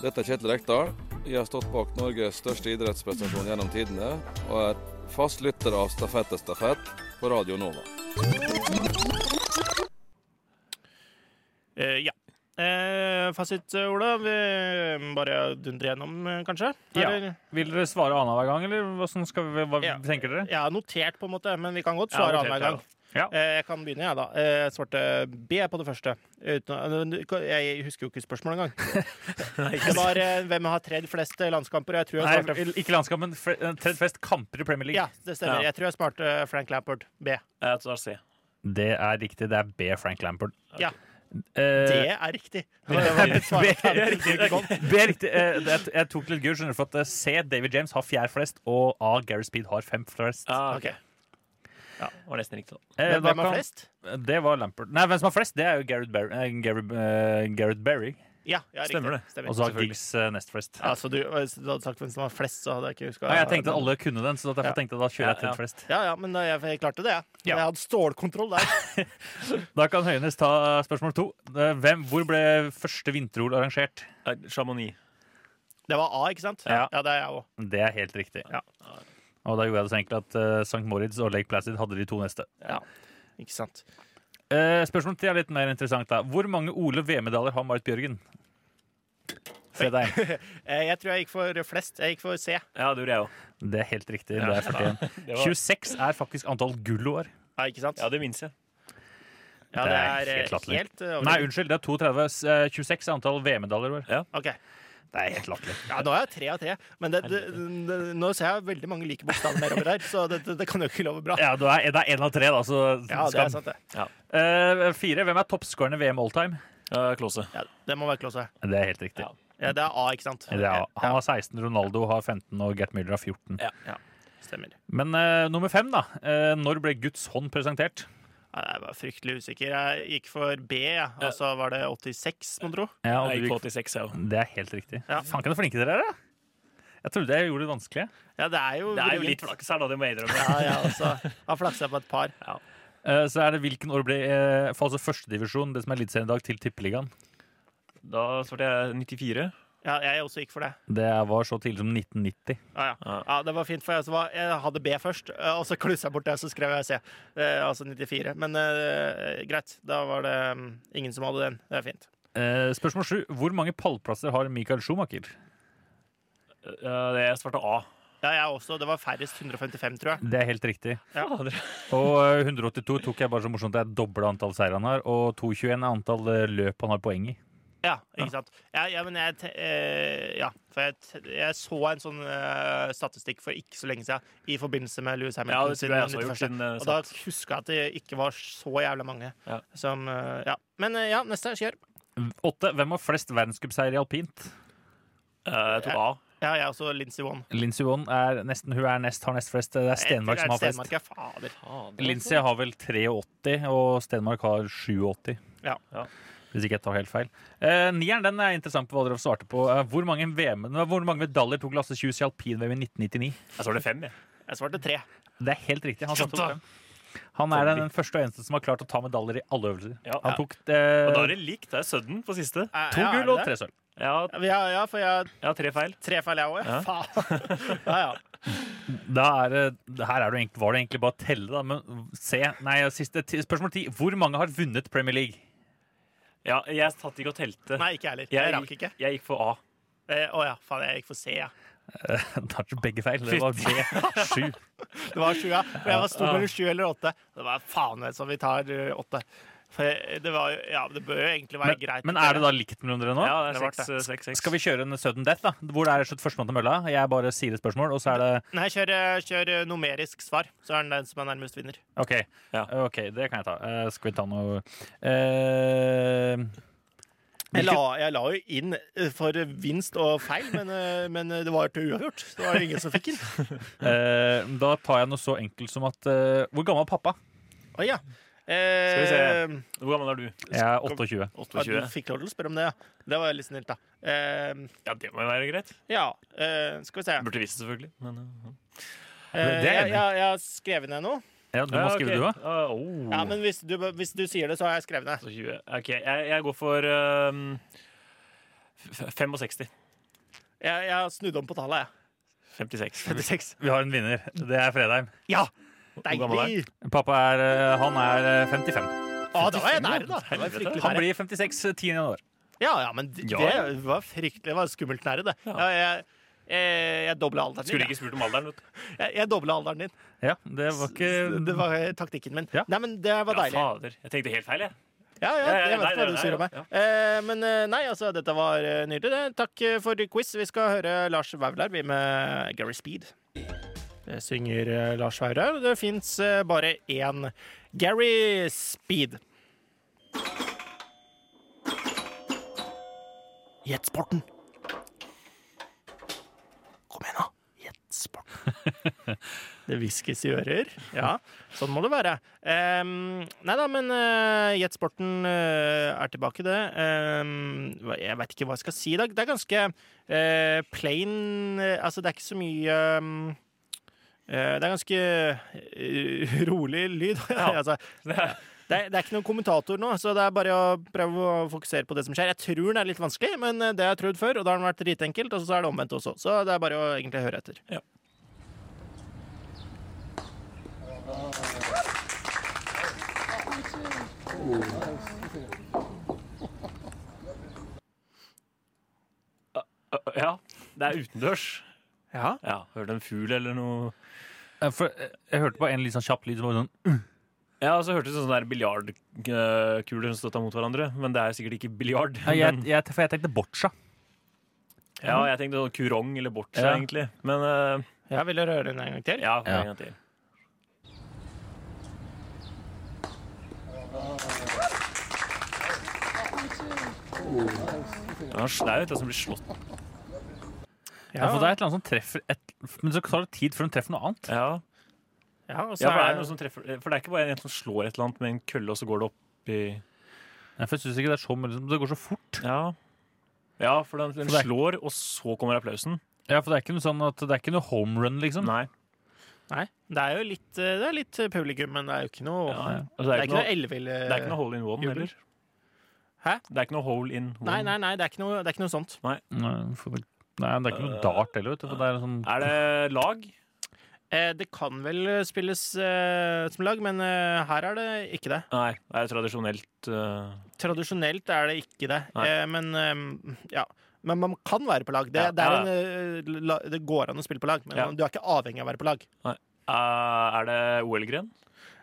Dette er Kjetil Rekdal. Jeg har stått bak Norges største idrettsprestasjon gjennom tidene, og er fast lytter av Stafett er stafett på Radio Nova.
Eh, ja. Eh, fasit, eh, Ola. Vi eh, bare dundrer gjennom, eh, kanskje?
Ja. Vil dere svare annenhver gang, eller hvordan skal vi, hva tenker dere?
Jeg har notert, på en måte, men vi kan godt
Ja,
svare
notert,
annenhver gang.
ja.
Eh, Jeg kan begynne, jeg, da. Eh, Jeg svarte B på det første. Uten, jeg husker jo ikke spørsmålet
<laughs>
engang. Det var eh, hvem har tredd flest eh, landskamper. og Jeg tror jeg
Nei,
svarte
ikke landskamp, men fre- eh, tredd flest kamper i Premier League.
Ja, det stemmer. Jeg tror jeg svarte eh, Frank Lampard.
Eh,
B.
Jeg tar C.
Det er riktig. Det er B. Frank Lampard.
Ja. Det
Eh,
er riktig.
B
Det var mitt svar.
er riktig. <laughs> B er riktig. Eh, det- Jeg tok litt gul, skjønner du, for at eh, C. David James har fjerde flest, og A. Gary Speed har fem flest.
Ah, ok. Ja, det var nesten riktig, da.
Eh,
Hvem-
da
hvem har flest?
Det var Lampard. Nei, hvem som har flest, det er jo Gareth Barry. eh, Gareth, eh, Gareth Barry.
Ja, ja, riktig.
Stemmer det.
Stemmer.
Og så har
Selvfølgelig.
Giggs eh, nest flest.
Altså, du, hvis du hadde sagt hvem som var flest, så hadde jeg ikke huska.
Nei, jeg tenkte alle kunne den, så derfor tenkte jeg da kjører jeg tredd flest.
Ja, ja, men da- jeg, jeg klarte det, jeg. Jeg hadde stålkontroll der.
Da kan Høynes ta spørsmål to. Eh, Hvem, hvor ble første vinter-OL arrangert?
Eh, Chamonix.
Det var A, ikke sant?
Ja.
det er jeg òg.
Det er helt riktig. Og da gjorde jeg det så enkelt at eh, St. Moritz og Lake Placid hadde de to neste.
Ja. Ikke sant.
Eh, spørsmål til er litt mer interessant. da. Hvor mange Ole V-medaljer har Marit Bjørgen? Se deg.
<laughs> Eh, Jeg tror jeg gikk for flest. Jeg gikk for C.
Ja, det gjorde jeg òg.
Det er helt riktig.
Ja.
Det er 41.
Det var-
26 er faktisk antall gullår.
Ja, ikke sant?
Ja, det minnes jeg.
Ja, det er eh,
helt latterlig.
helt, eh,
Nei, unnskyld. Det er 32. S- eh, 26 er antall VM-medaljer i år.
Ok.
Det er helt latterlig.
Ja, nå er jeg tre av tre, men det, det, det, nå ser jeg veldig mange like bokstaver nedover her, så det, det, det kan jo ikke love bra.
Ja, du er, det er én av tre, da. Så
Ja, det er sant, det.
Eh, fire. Hvem er toppskårende VM alltime?
Uh, Klåse.
Ja, det må være Klåse.
Det er helt riktig.
Ja, det er A, ikke sant?
Det er, han har 16, Ronaldo har 15 og Gert Müller har 14.
Ja, stemmer.
Men eh, nummer fem, da. Eh, når ble Guds hånd presentert?
Ja, jeg var fryktelig usikker. Jeg gikk for B, jeg. og så var det 86, må tro.
Ja, og du-
jeg òg.
Det er helt riktig.
Ja.
Faen, kan du flinke dere er, da? Jeg trodde jeg gjorde det vanskelig.
Ja, det er jo
Det er jo
vrient.
litt flaks her, da. Det må jeg innrømme.
Ja, ja, altså. Har flaksa på et par.
Eh, så er det hvilken år ble eh, for altså førstedivisjon, det som er Eliteserien i dag, til Tippeligaen?
Da svarte jeg 94.
Ja, jeg også gikk for det.
Det var så tidlig som 1990.
Ja, ja. ja Det var fint, for jeg, også var, jeg hadde B først, eh, og så klussa jeg bort det, og så skrev jeg C. Eh, altså 94. Men eh, greit, da var det mm, ingen som hadde den. Det er fint.
Eh, spørsmål sju. Hvor mange pallplasser har Michael Schumacher? Eh,
det svarte A. Ja, jeg også. Det var færrest 155, tror jeg.
Det er helt riktig.
Ja.
Og eh, 182 tok jeg bare så morsomt. Det er doble antall seire han har. Og 221 er antall eh, løp han har poeng i.
Ja, ikke sant. Ja, ja men jeg, te- eh, ja, for jeg, te- jeg så en sånn eh, statistikk for ikke så lenge siden i forbindelse med Louis
Ja,
Hamilton.
det tror
sin
jeg også har gjort
91..
siden, eh,
og da huska jeg at det ikke var så jævla mange som eh, Ja. Men eh, ja, neste. Kjør.
Åtte. Hvem har flest verdenscupseier i alpint?
Eh, jeg tok A.
Ja, jeg er også Lincy One.
Lincy Vonn er nesten Hun er nest, har nest flest. eh, Det er Stenmark som har flest.
Stenmark er fader.
Lincy har vel 83, og Stenmark har 87.
Ja.
Hvis ikke jeg tar helt feil. Eh, nieren den er interessant på hva dere svarte på. Eh, hvor, mange VM, nei, hvor mange medaljer tok Lasse Kjus i alpin-VM i 1999?
Jeg svarte fem, jeg.
Jeg svarte tre.
Det er helt riktig. Han, satte opp fem. han er den første og eneste som har klart å ta medaljer i alle øvelser. Han tok eh,
Og da er det likt. Det er sudden på siste.
to
Eh, ja, er
gull og
det
tre
det?
sølv.
Ja,
ja, ja, for jeg
Ja, tre feil.
Tre feil, jeg òg. Ja.
Ja.
Faen.
<laughs>
Ja, ja.
Da er det, her er det, jo egentlig- var det egentlig bare å telle, da. Men se. Nei, siste ti, spørsmål ti. Hvor mange har vunnet Premier League? <laughs>
Ja, jeg satt ikke og telte.
Nei, ikke jeg heller. Jeg
Jeg,
rakk
gikk-
ikke.
jeg gikk for A.
Å eh, å ja, faen, jeg gikk for C, ja.
Eh, Da tok begge feil. Det var B. Sju.
<laughs> Det var sju, ja. For jeg var stor mellom sju eller åtte. Det var faen meg som vi tar eh, åtte. For jeg- det var jo Ja, det bør jo egentlig være
Men,
greit.
men er det da likt mellom dere nå?
Ja, det er Det seks, ble det. eh, seks, seks.
Skal vi kjøre en sudden death, da? Hvor det er slutt førstemann til mølla? Jeg bare sier et spørsmål, og så er det
Nei, kjør, eh, kjør eh, numerisk svar, så er den den som er nærmest vinner.
OK, ok, det kan jeg ta. Eh, skal vi ta noe eh,
Jeg la, jeg la jo inn eh, for vinst og feil, men, eh, men eh, det var til uavgjort. Så Det var jo ingen som fikk den.
eh, Da tar jeg noe så enkelt som at eh, Hvor gammel er pappa?
Oi, ja. Eh,
Skal vi se.
Hvor gammel er du?
Jeg er 28.
Ja, du fikk lov til å spørre om det, ja. Det var litt snilt, da. Eh,
ja, det må jo være greit.
Ja. eh, skal vi se.
Burde visst, selvfølgelig. Men, uh,
Eh, jeg, jeg, jeg har skrevet ned noe.
Ja, du må skrive du, da.
Uh, oh.
Ja, men hvis du, hvis du sier det, så har jeg skrevet ned.
20. OK, jeg, jeg går for um, f- 65.
Jeg, jeg har snudd om på tallet, jeg.
56.
Vi har en vinner. Det er Fredheim.
Ja!
Hvor gammel er
Deilig!
han? Pappa er eh, Han er eh, 55.
Å, da var jeg nære, da. Det var fryktelig
Han
nære.
blir eh, 56 10. januar.
Ja, ja, men d-
Ja.
det var fryktelig det var skummelt nære, det. Ja, jeg jeg, jeg dobla alderen
Skulle
din.
ikke spurt om alderen, vet du.
jeg. Jeg, jeg dobla alderen din.
Ja, det var ikke
Det var eh, taktikken min. Nei, men det var
Ja,
deilig.
fader. Jeg tenkte helt feil, jeg.
Ja, ja,
Ja, ja,
jeg
nei,
vet hva
nei,
du
nei,
sier om meg.
ja.
Eh, men eh, nei, altså, dette var eh, nydelig. det. Takk eh, for quiz. Vi skal høre Lars Vaular, vi med Gary Speed. Det synger eh, Lars Vaular. Det fins bare én Gary Speed. Jetsporten. Kom igjen, da. Jetsporten. Det hviskes i ører. Ja, sånn må det være. Um, nei da, men eh, Jetsporten eh, er tilbake, det. Ehm, hva- jeg veit ikke hva jeg skal si i dag. Det er ganske eh, plain eh, Altså, det er ikke så mye ehm, eh, det er ganske eh, rolig lyd. <laughs> altså, det, er, det, er, ikke noen kommentator nå, så det er bare å prøve å fokusere på det som skjer. Jeg tror den er litt vanskelig, men eh, det har jeg prøvd før, og da har den vært dritenkelt. Og så er det omvendt også, så det er bare å egentlig høre etter.
Uh, uh, Ja, det er utendørs.
Ja.
ja Hørte en fugl eller noe
Eh, For, eh, jeg hørte bare en litt sånn kjapp lyd som var sånn
Ja, og så hørtes det ut som sånne der biljardkuler som støtta mot hverandre. Men det er sikkert ikke biljard.
Nei, jeg,
men,
jeg, For jeg tenkte boccia.
ja, jeg tenkte sånn kurong eller boccia,
Ja.
egentlig. Men eh,
Ja, vil dere høre den en gang til?
Ja, for
Ja.
en gang til. Det var snaut, det som blir slått.
Ja. for det er et eller annet som treffer et, Men så tar det tid før hun treffer noe annet.
Ja,
Ja, og så
ja for, det
er
er noe som treffer, eh, for det er ikke bare en som slår et eller annet med en kølle, og så går det opp i
for jeg synes ikke Det er så mye, liksom. det går så fort.
Ja, ja for den, den
For det er-
slår, og så kommer applausen.
Ja, for Det er ikke noe sånn at Det er ikke noe home run, liksom.
Nei.
Nei, det er jo litt, eh, det er litt publikum, men det er jo ikke noe
Ja, ja.
Det er ikke noe ellevill
Det er ikke noe hole in one
jubel.
heller.
Hæ?
Det er ikke noe hole in
eh, Nei, nei, nei, det er ikke noe, det er ikke noe sånt.
Nei.
Nei, for det, nei, det er ikke noe dart heller, vet du. For det er, sånn,
Øh, er det lag?
Eh, det kan vel spilles eh, som lag, men eh, her er det ikke det.
Nei, det er tradisjonelt eh,
Tradisjonelt er det ikke det,
Nei.
eh, men eh, ja. Men man kan være på lag. Det,
Ja,
det, er
ja,
en, eh, la, det går an å spille på lag, men
Ja.
du er ikke avhengig av å være på lag.
Nei. Eh, er det OL-gren?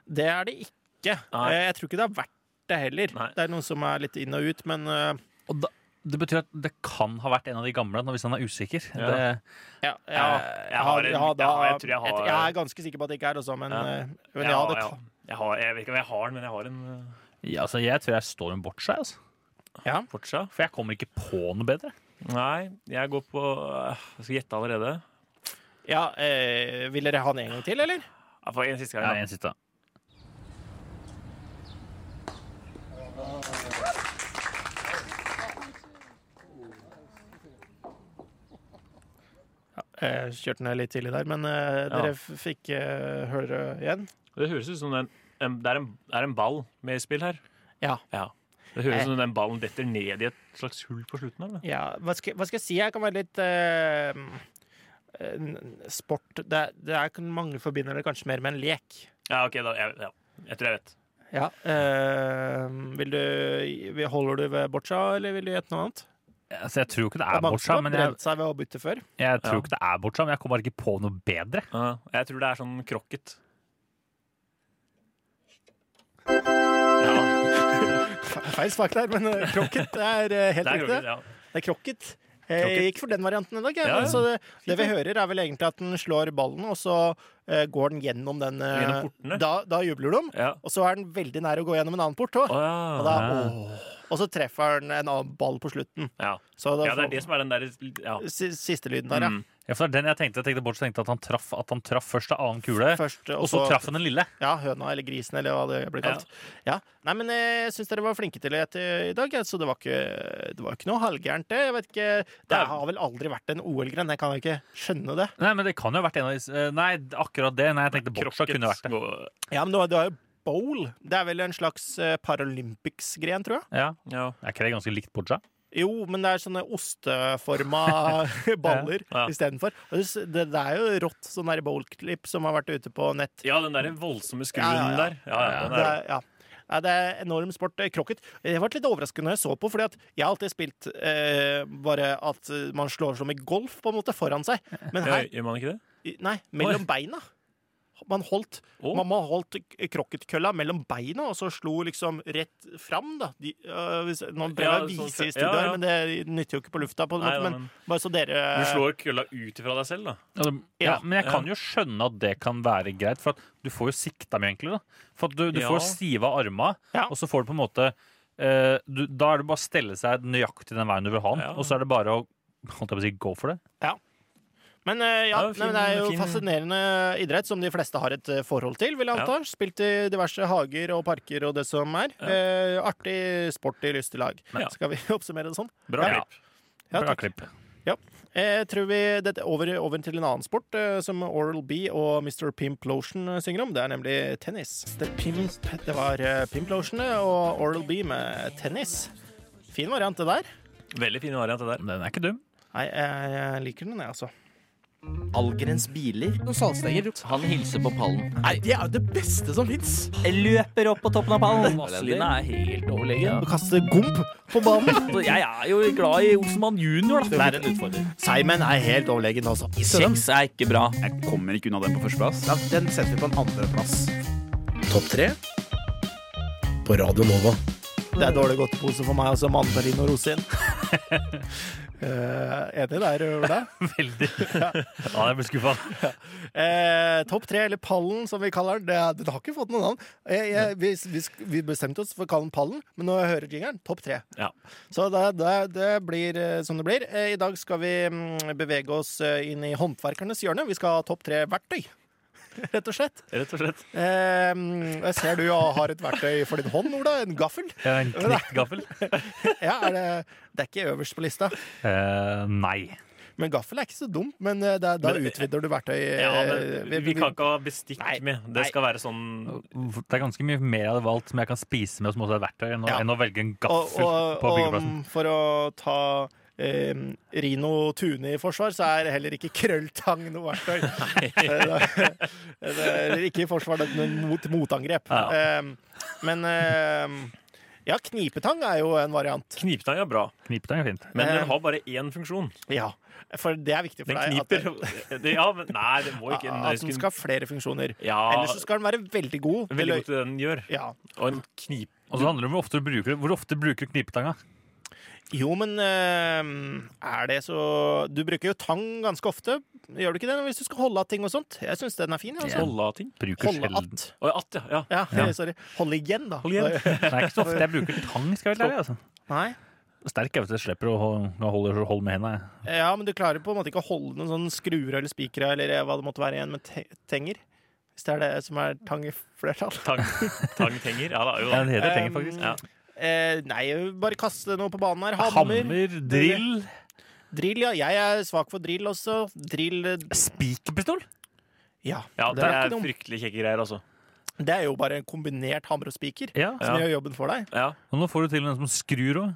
Det er det ikke.
Nei.
Eh, Jeg tror ikke det har vært det heller. Det er noen som er litt inn og ut, men eh,
det betyr at det kan ha vært en av de gamle, når- hvis han er usikker.
Ja.
Det,
ja, ja,
Jeg- jeg har en-
ja, da-
jeg har- jeg tror jeg har-
jeg er ganske sikker på at det ikke er også, men, eh, men ja, det kan
Jeg, har, jeg vet ikke om jeg har den, men jeg har en eh,
ja, altså, jeg tror jeg står med Boccia. Altså.
Boccia?
For jeg kommer ikke på noe bedre.
Nei, jeg går på eh, Jeg skal gjette allerede.
Ja, eh, Vil dere ha den en gang til, eller?
Ja, for en siste gang.
Ja,
da.
en siste.
Eh, kjørte ned litt tidlig der, men eh,
Ja.
dere f- fikk eh, høre igjen.
Det høres ut som den, en, det, er en, det er en ball med i spill her.
Ja.
Det
Eh.
høres ut som den ballen detter ned i et slags hull på slutten. Eller?
ja hva, skal, hva skal jeg si? Jeg kan være litt eh, eh, n- Sport det, er- det er Mange forbinder det kanskje mer med en lek.
Ja, ok, da, jeg, ja. jeg tror jeg vet.
Ja. eh, vil du Holder du ved boccia, eller vil du gjette noe annet?
Altså, jeg tror ikke det
Det er
er
mange
Boccia,
som har
men jeg,
brent seg ved å bytte før.
jeg tror
Ja.
ikke det er Boccia, men jeg kommer bare ikke på noe bedre.
jeg tror det er sånn krokket.
Feil smak der, men eh, krokket er eh, helt
Det er
riktig.
krokket, ja.
Det er krokket. Eh, Jeg gikk for den varianten i dag. jeg.
Ja, ja.
Så det, det vi hører, er vel egentlig at den slår ballen, og så eh, går den gjennom den eh,
Gjennom portene.
Da, da jubler de, og så er den veldig nær å gå gjennom en annen port òg. og, da- åh. og så treffer den en annen ball på slutten.
Ja.
Så da
ja, det
får-
er det som er den der ja.
Si- Siste lyden der, ja.
Mm. Ja, for det er den jeg tenkte. Jeg tenkte Boccia tenkte at han traff, at han traff først av annen kule,
Først, eh,
og så traff han den lille.
Ja, høna eller grisen, eller hva det blir kalt. Ja. Nei, men eh, jeg syns dere var flinke til å gjette i dag, jeg, så det var ikke, det var ikke noe halvgærent, det. Jeg vet ikke, Det har vel aldri vært en OL-gren, jeg kan jo ikke skjønne det.
Nei, men det kan jo ha vært en av de eh, Nei, akkurat det. Nei, jeg tenkte Boccia kunne vært det.
Ja, men du har- du har jo bowl. Det er vel en slags eh, Paralympics-gren, tror jeg.
Ja. Er ikke det ganske likt Boccia?
Jo, men det er sånne
<laughs>
osteforma <laughs> baller
Ja. Ja.
istedenfor. Og Det, s- det det er jo rått, sånn der bowl-klipp som har vært ute på nett.
ja, den der voldsomme skruen der. Ja, ja, den
det,
er,
er, ja. Nei, det er enorm sport. eh, Krokket. Jeg ble litt overrasket når jeg så på, fordi at jeg har alltid spilt eh, bare at eh, man slår som i golf, på en måte, foran seg. Men
ja,
her
gjør man ikke det?
i- Nei, mellom beina. Man holdt Mamma holdt k- krokketkølla mellom beina, og så slo liksom rett fram, da. De, øh, hvis, nå prøver
Ja,
jeg å
sånn
vise
se-
i studio,
ja, ja.
her, men det nytter jo ikke på lufta, på en
Nei,
måte.
nei,
Men Eh.
men-
bare så dere
Du slår kølla ut ifra deg selv, da.
Ja, det, ja,
Ja.
men jeg kan
Ja.
jo skjønne at det kan være greit, for at du får jo sikta mye enklere. Da. For at du, du
Ja.
får stive arma, og så får du på en måte eh, du, Da er det bare å stelle seg nøyaktig den veien du vil ha den, og så er det bare å holdt jeg på å si, go for det.
Ja. Men øh, ja,
Ja, fin-
nei, men det er jo
fin-
fascinerende idrett som de fleste har et øh, forhold til, vil jeg
Ja.
anta. Spilt i diverse hager og parker og det som er. Eh, artig sport i lystig lag.
Ja.
Skal vi <laughs> oppsummere det sånn?
Bra
Ja.
klipp.
Ja,
Bra
takk.
klipp.
Ja. Eh, Jeg tror vi dette over, over til en annen sport eh, som Oral B og Mr. Pimplotion eh, synger om. Det er nemlig tennis. Det, pimp, det var eh, Pimplotion eh, og Oral B med tennis. Fin variant, det der.
Veldig fin variant, det der.
Den er ikke dum.
Nei, jeg, jeg liker den, jeg, altså.
Allgrens biler. Noen saltstenger. Han hilser på pallen. Nei, Det er jo det beste som fins!
Løper opp på toppen av pallen.
Vazelina er helt overlegen.
Kaste gomp på
<laughs>
banen.
Så Altså, Jeg er jo glad i Olsenmann junior, da. Det er en utfordring.
Simon er helt overlegen, altså.
Kjeks er ikke bra.
Jeg kommer ikke unna den på førsteplass. Ja, den setter vi på en andreplass. Topp tre på Radio Nova.
Det er dårlig godtepose for meg, altså. Mandarin og rosin. Eh, enig der, Ola?
Veldig. Ja, jeg ble skuffa. <laughs>
Eh, Topp tre, eller Pallen, som vi kaller den. Det er- Den har ikke fått noe navn. Jeg, jeg, vi, vi, sk- vi bestemte oss for å kalle den Pallen, men når jeg hører jingeren, topp tre.
Ja.
Så det, det, det blir eh, som det blir. Eh, I dag skal vi mm, bevege oss eh, inn i håndverkernes hjørne. Vi skal ha topp tre verktøy, <laughs> rett og slett.
Rett og slett.
Eh, jeg ser du har et verktøy for din hånd, Ola. En gaffel.
Ja,
<laughs>
en knekt gaffel.
ja, er det, det er ikke øverst på lista.
Eh, nei.
Men gaffel er ikke så dumt, men eh, da, da
Men-
utvider du verktøy
Ja,
eh,
men
vi-
vi kan ikke ha bestikk med. Det skal være sånn
Det er ganske mye mer jeg hadde valgt som jeg kan spise med som også er verktøy, enn, å-
Ja.
enn å velge en
og,
gaffel på
og, og
byggeplassen.
mm, for å ta eh, Rino Tune i forsvar, så er heller ikke krølltang noe verktøy. Eh, det- det er ikke i forsvar, det er mot motangrep.
Ja.
Eh, men eh, ja, knipetang er jo en variant.
Knipetang er bra.
Knipetang er fint.
Men den har bare én funksjon.
Ja, for det er viktig Eh. for
Den
deg. at-
kniper. <laughs> Det- Ja, men nei, det må ikke
At den skal ha flere funksjoner.
Ja.
Ellers så skal den være veldig god. til
Veldig
å-
godt til det den gjør.
Ja.
Og en knip...
Og så handler det om hvor ofte du bruker, hvor ofte bruker du knipetanga.
Jo, men eh, er det så Du bruker jo tang ganske ofte, gjør du ikke det? Hvis du skal holde av ting og sånt. Jeg syns den er fin. jeg, Altså.
Holde av ting?
Bruker
Holde
sjelden.
att.
Å, ja, att, ja.
Ja,
Ja.
<laughs> Sorry. Holde igjen, da.
Det er ikke så ofte jeg bruker tang, skal jeg være helt ærlig. Altså.
<laughs> Nei.
Sterk jeg vet, jeg slipper å holde, holde, holde med hendene. jeg.
Ja, men du klarer på en måte ikke å holde noen sånne skruer eller spikere eller eh, hva det måtte være igjen med te tenger. Hvis det er det som er tang i flertall. <laughs>
Tang, tenger? Ja da. Jo, da.
Ja, den heter tenger, faktisk.
Ja.
Eh, nei, bare kaste noe på banen her. Hammer.
Hammer, drill.
Drill, ja. Jeg er svak for drill også. Drill eh,
Spikerpistol?
Ja.
ja,
den er
det
ikke
er
dum.
fryktelig kjekke greier, altså.
Det er jo bare en kombinert hammer og spiker
Ja.
som
Ja.
gjør jobben for deg.
Ja.
Og nå får du til en som skrur òg.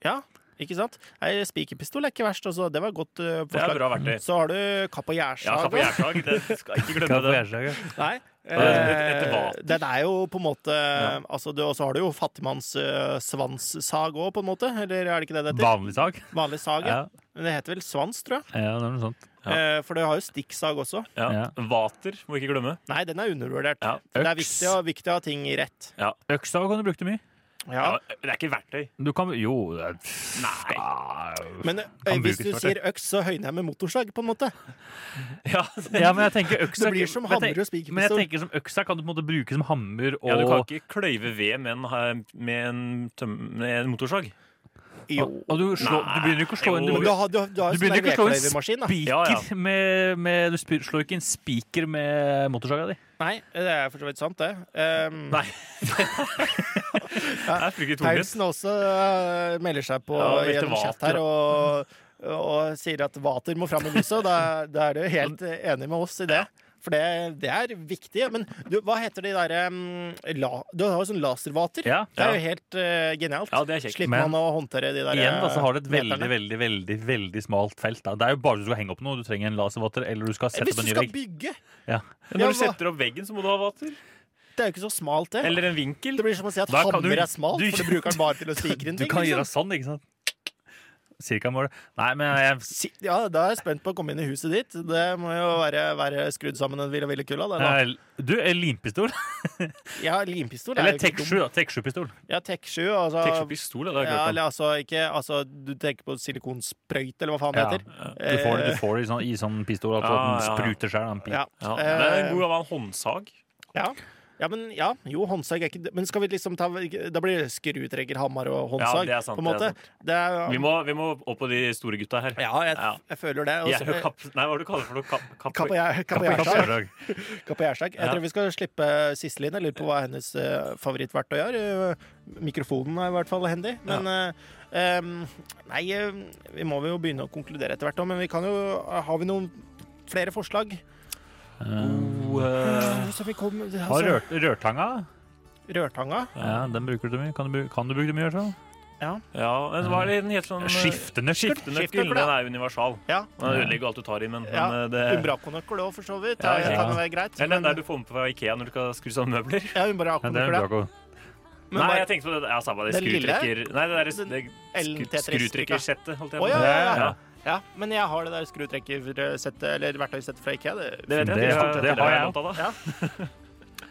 Ja, ikke sant? Nei, Spikerpistol er ikke verst. Også. Det var et godt eh,
Det er
forslag.
bra verktøy.
Så har du kapp og gjærsag.
Ja, kapp og
også.
gjærsag. Det skal ikke glemme
Kapp og
det.
gjærsag, ja.
Nei.
Ja, det er et- et
eh,
vater.
Den er jo på en måte altså, du- Og så har du jo fattigmannssvanssag òg, på en måte. Eller er det ikke det det heter?
Vanlig sag.
Vanlig sag, ja.
Ja.
Men det heter vel svans, tror jeg.
Ja, det er noe sånt.
Eh, For du har jo stikksag også.
Ja. Vater må ikke glemme.
Nei, den er undervurdert.
Øks.
Det er viktig å, viktig å ha ting rett.
Ja.
Øksa kan du bruke til mye.
Ja.
Det er ikke verktøy.
Du kan, jo det er,
Nei.
Men eh, hvis du sier øks, så høyner jeg med motorsag, på en måte.
Ja,
Ja, men jeg tenker øksa
Det blir som
men jeg
hammer og
tenker-
spikerpistol.
Men jeg tenker som øksa kan du på en måte bruke som hammer og
Ja, du kan ikke kløyve ved med en, med en, tøm, med en motorsag.
Jo.
Og du, slår, du begynner ikke å slå en
Jo.
Men du har, du har, du har
Du
jo sånn
begynner ikke å slå en
der vedkløyvermaskin, da.
spiker med, med Du spyr- slår ikke en spiker med motorsaga di.
Nei, det er for så vidt sant, det. Um,
Nei. det er fryktelig tungvint.
Paulsen også eh, melder seg på
Ja, vet du
gjennom
hva,
chat her og, og sier at Vater må fram i lyset, og da, da er du helt eh, enig med oss i det. For det, det er viktig. Men du, hva heter de derre la, Du har jo sånn laservater.
Ja.
det er
Ja.
jo helt eh, genialt.
Ja, det er kjekt.
Slipper
Men-
man å håndtere de der
Igjen da, så har du et
eh,
veldig
meterne.
veldig, veldig veldig smalt felt. Da. Det er jo bare du skal henge opp noe. Du trenger en laservater, eller du skal sette
Hvis
opp
du
en ny
skal
vegg.
bygge!
Men
Ja.
Ja,
når du
hva-
setter opp veggen, så må du ha vater.
Det er jo ikke så smalt, det.
Eller en vinkel.
det blir som å si at
Da kan
hammer
du-
er smalt,
du-
for du bruker den bare
<laughs>
til å spikre inn
Du
ting.
kan gjøre
liksom.
sånn, ikke sant? Cirkamålet. Nei, men jeg,
Si- Ja, Da er jeg spent på å komme inn i huset ditt. Det må jo være, være skrudd sammen en ville ville kulla. det Sånn, da.
jeg, du, en limpistol?
Ja, limpistol er
Eller
jo ikke
Tek 7, da. Tek 7-pistol.
dum. Ja, Tek 7. Altså,
Tek opp pistol, ja, det har
ja,
jeg ikke hørt om.
eller altså, ikke, altså, du tenker på silikonsprøyt, eller hva faen det
Ja.
heter.
Du får, du får det i sånn, i sånn pistol at
Ah, Ja,
den
ja, ja.
spruter seg.
Eh. Ja. Eh,
Ja.
Ja, det er en god gammel håndsag.
Ja. ja, men ja, jo, håndsag er ikke Men skal vi liksom ta Da blir det skrutrekker, hammer og
Ja,
håndsag,
det er sant,
på en måte.
det
Det er,
er Vi må, vi må opp på de store gutta her.
Ja, jeg, jeg føler det.
Jeg er jo
Også-
kapp... Nei, hva er det du kaller det for noe? Kapp... kapp-
Kapp og gjær- kapp og
kapp-
gjærsag.
gjærsag.
Kapp og Gjersag. Jeg
Ja.
tror vi skal slippe Sisselin. Jeg lurer på hva hennes eh, favorittverktøy er. Eh, mikrofonen er i hvert fall handy. Men eh, em, Nei, eh, vi må jo begynne å konkludere etter hvert òg, men vi kan jo eh, Har vi noen flere forslag?
Oh, eh,
Så vi kom, altså,
Har rør, rørtanga?
rørtanga?
Ja, den bruker du mye. Kan du, bru- kan du bruke det mye? i hvert fall?
Ja.
Ja, men hva er det den heter sånn eh,
Skiftenøkkel?
Skiftenøkkel, den er universal.
Ja.
Den ødelegger alt du tar i, men,
ja.
men eh, det
Umbrakonøkkel òg, for så vidt.
Ja,
Det
ja.
kan jo være greit.
Eller den der du får med på Ikea når du skal skru sammen møbler.
Ja,
Ja, det er
umbrakonøkkel, ja.
bra.
Men
Nei,
bare-
jeg tenkte på det. Ja, samme det.
Den lille?
Skrutrekker... Nei, det der det,
Ellen
skru- skrutrekkersettet, holdt
Å,
jeg på å
ja,
si.
ja, ja. ja, men jeg har det der skrutrekkersettet, eller verktøysettet fra IKEA. Det,
Det vet jeg.
Det
Det,
har-
det,
det har
har
jeg
jeg godt av, da.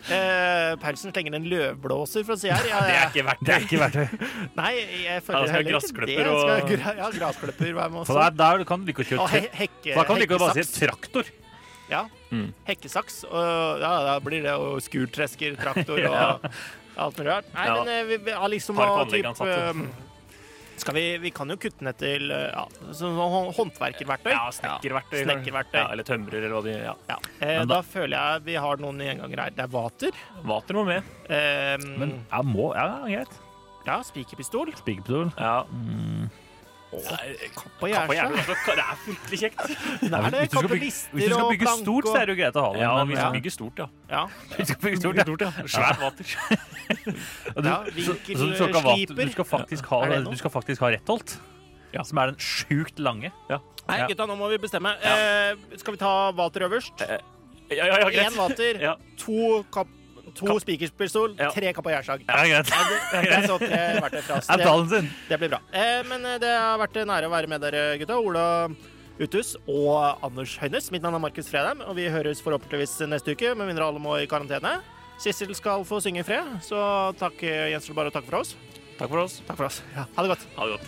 Eh, Paulsen slenger en løvblåser fra sida her. Ja,
<laughs> Det er
ja.
ikke verdt
Det er ikke verktøy.
Nei, jeg
Ja,
føler
det skal
heller ikke det.
gressklipper
Jeg
og-
skal gra ja, gressklipper hver måned.
For der, der kan du like å kjøre
Og he
tra-
hekke,
for Da kan du like å bare si
hekkesaks.
traktor.
Ja.
Mm.
Hekkesaks. Og ja, da blir det jo skurtresker,
<laughs>
traktor og
Ja.
alt mulig rart. Nei,
Ja.
men eh, vi, vi har liksom
Park- og
å, typ,
anleggansatte.
eh, skal vi, vi kan jo kutte ned til eh, ja, sånn hå- håndverkerverktøy.
Ja, snekkerverktøy. kanskje.
Snekkerverktøy.
Ja, eller tømrer, eller hva de ja.
Ja. Eh, da føler jeg vi har noen gjengangere her. Det er vater.
Vater må med.
Eh,
Men jeg Mm. må Ja, greit.
ja, spikerpistol.
Spikerpistol.
Ja. Kapp og jævla. altså, Det er fryktelig kjekt.
<laughs> Nei, det
Hvis du skal
kapper
bygge-
lister
Hvis du skal
og
bygge
plank
stort,
og-
så er det jo greit å ha det.
Ja,
men-
vi skal bygge stort, ja.
Ja.
Vi skal bygge stort, ja.
Svært vater.
Og du,
Ja,
så,
vinkel-
så du,
eh,
skal ikke ha vater,
sliper.
du skal faktisk ha,
Er det noe?
du skal faktisk ha rettholdt, som er den sjukt lange.
Nei,
Ja.
gutta, nå må vi bestemme. Eh, skal vi ta vater øverst?
Ja, ja, ja, greit.
Én vater, to kapp... To spikerpistol, tre kapp og jærslag.
Ja, greit.
Det er så tre verktøy fra oss.
<laughs> Er planen sin.
Det blir bra. Eh, men eh, det har vært nære å være med dere, gutta. Ola Uthus og Anders Høynes. Mitt navn er Markus Fredheim, og vi høres forhåpentligvis neste uke, med mindre alle må i karantene. Sissel skal få synge i fred, så takk, eh, gjenstår det bare å takke for oss.
Takk for oss.
Takk for oss. Ja. Ha det godt.
Ha det godt.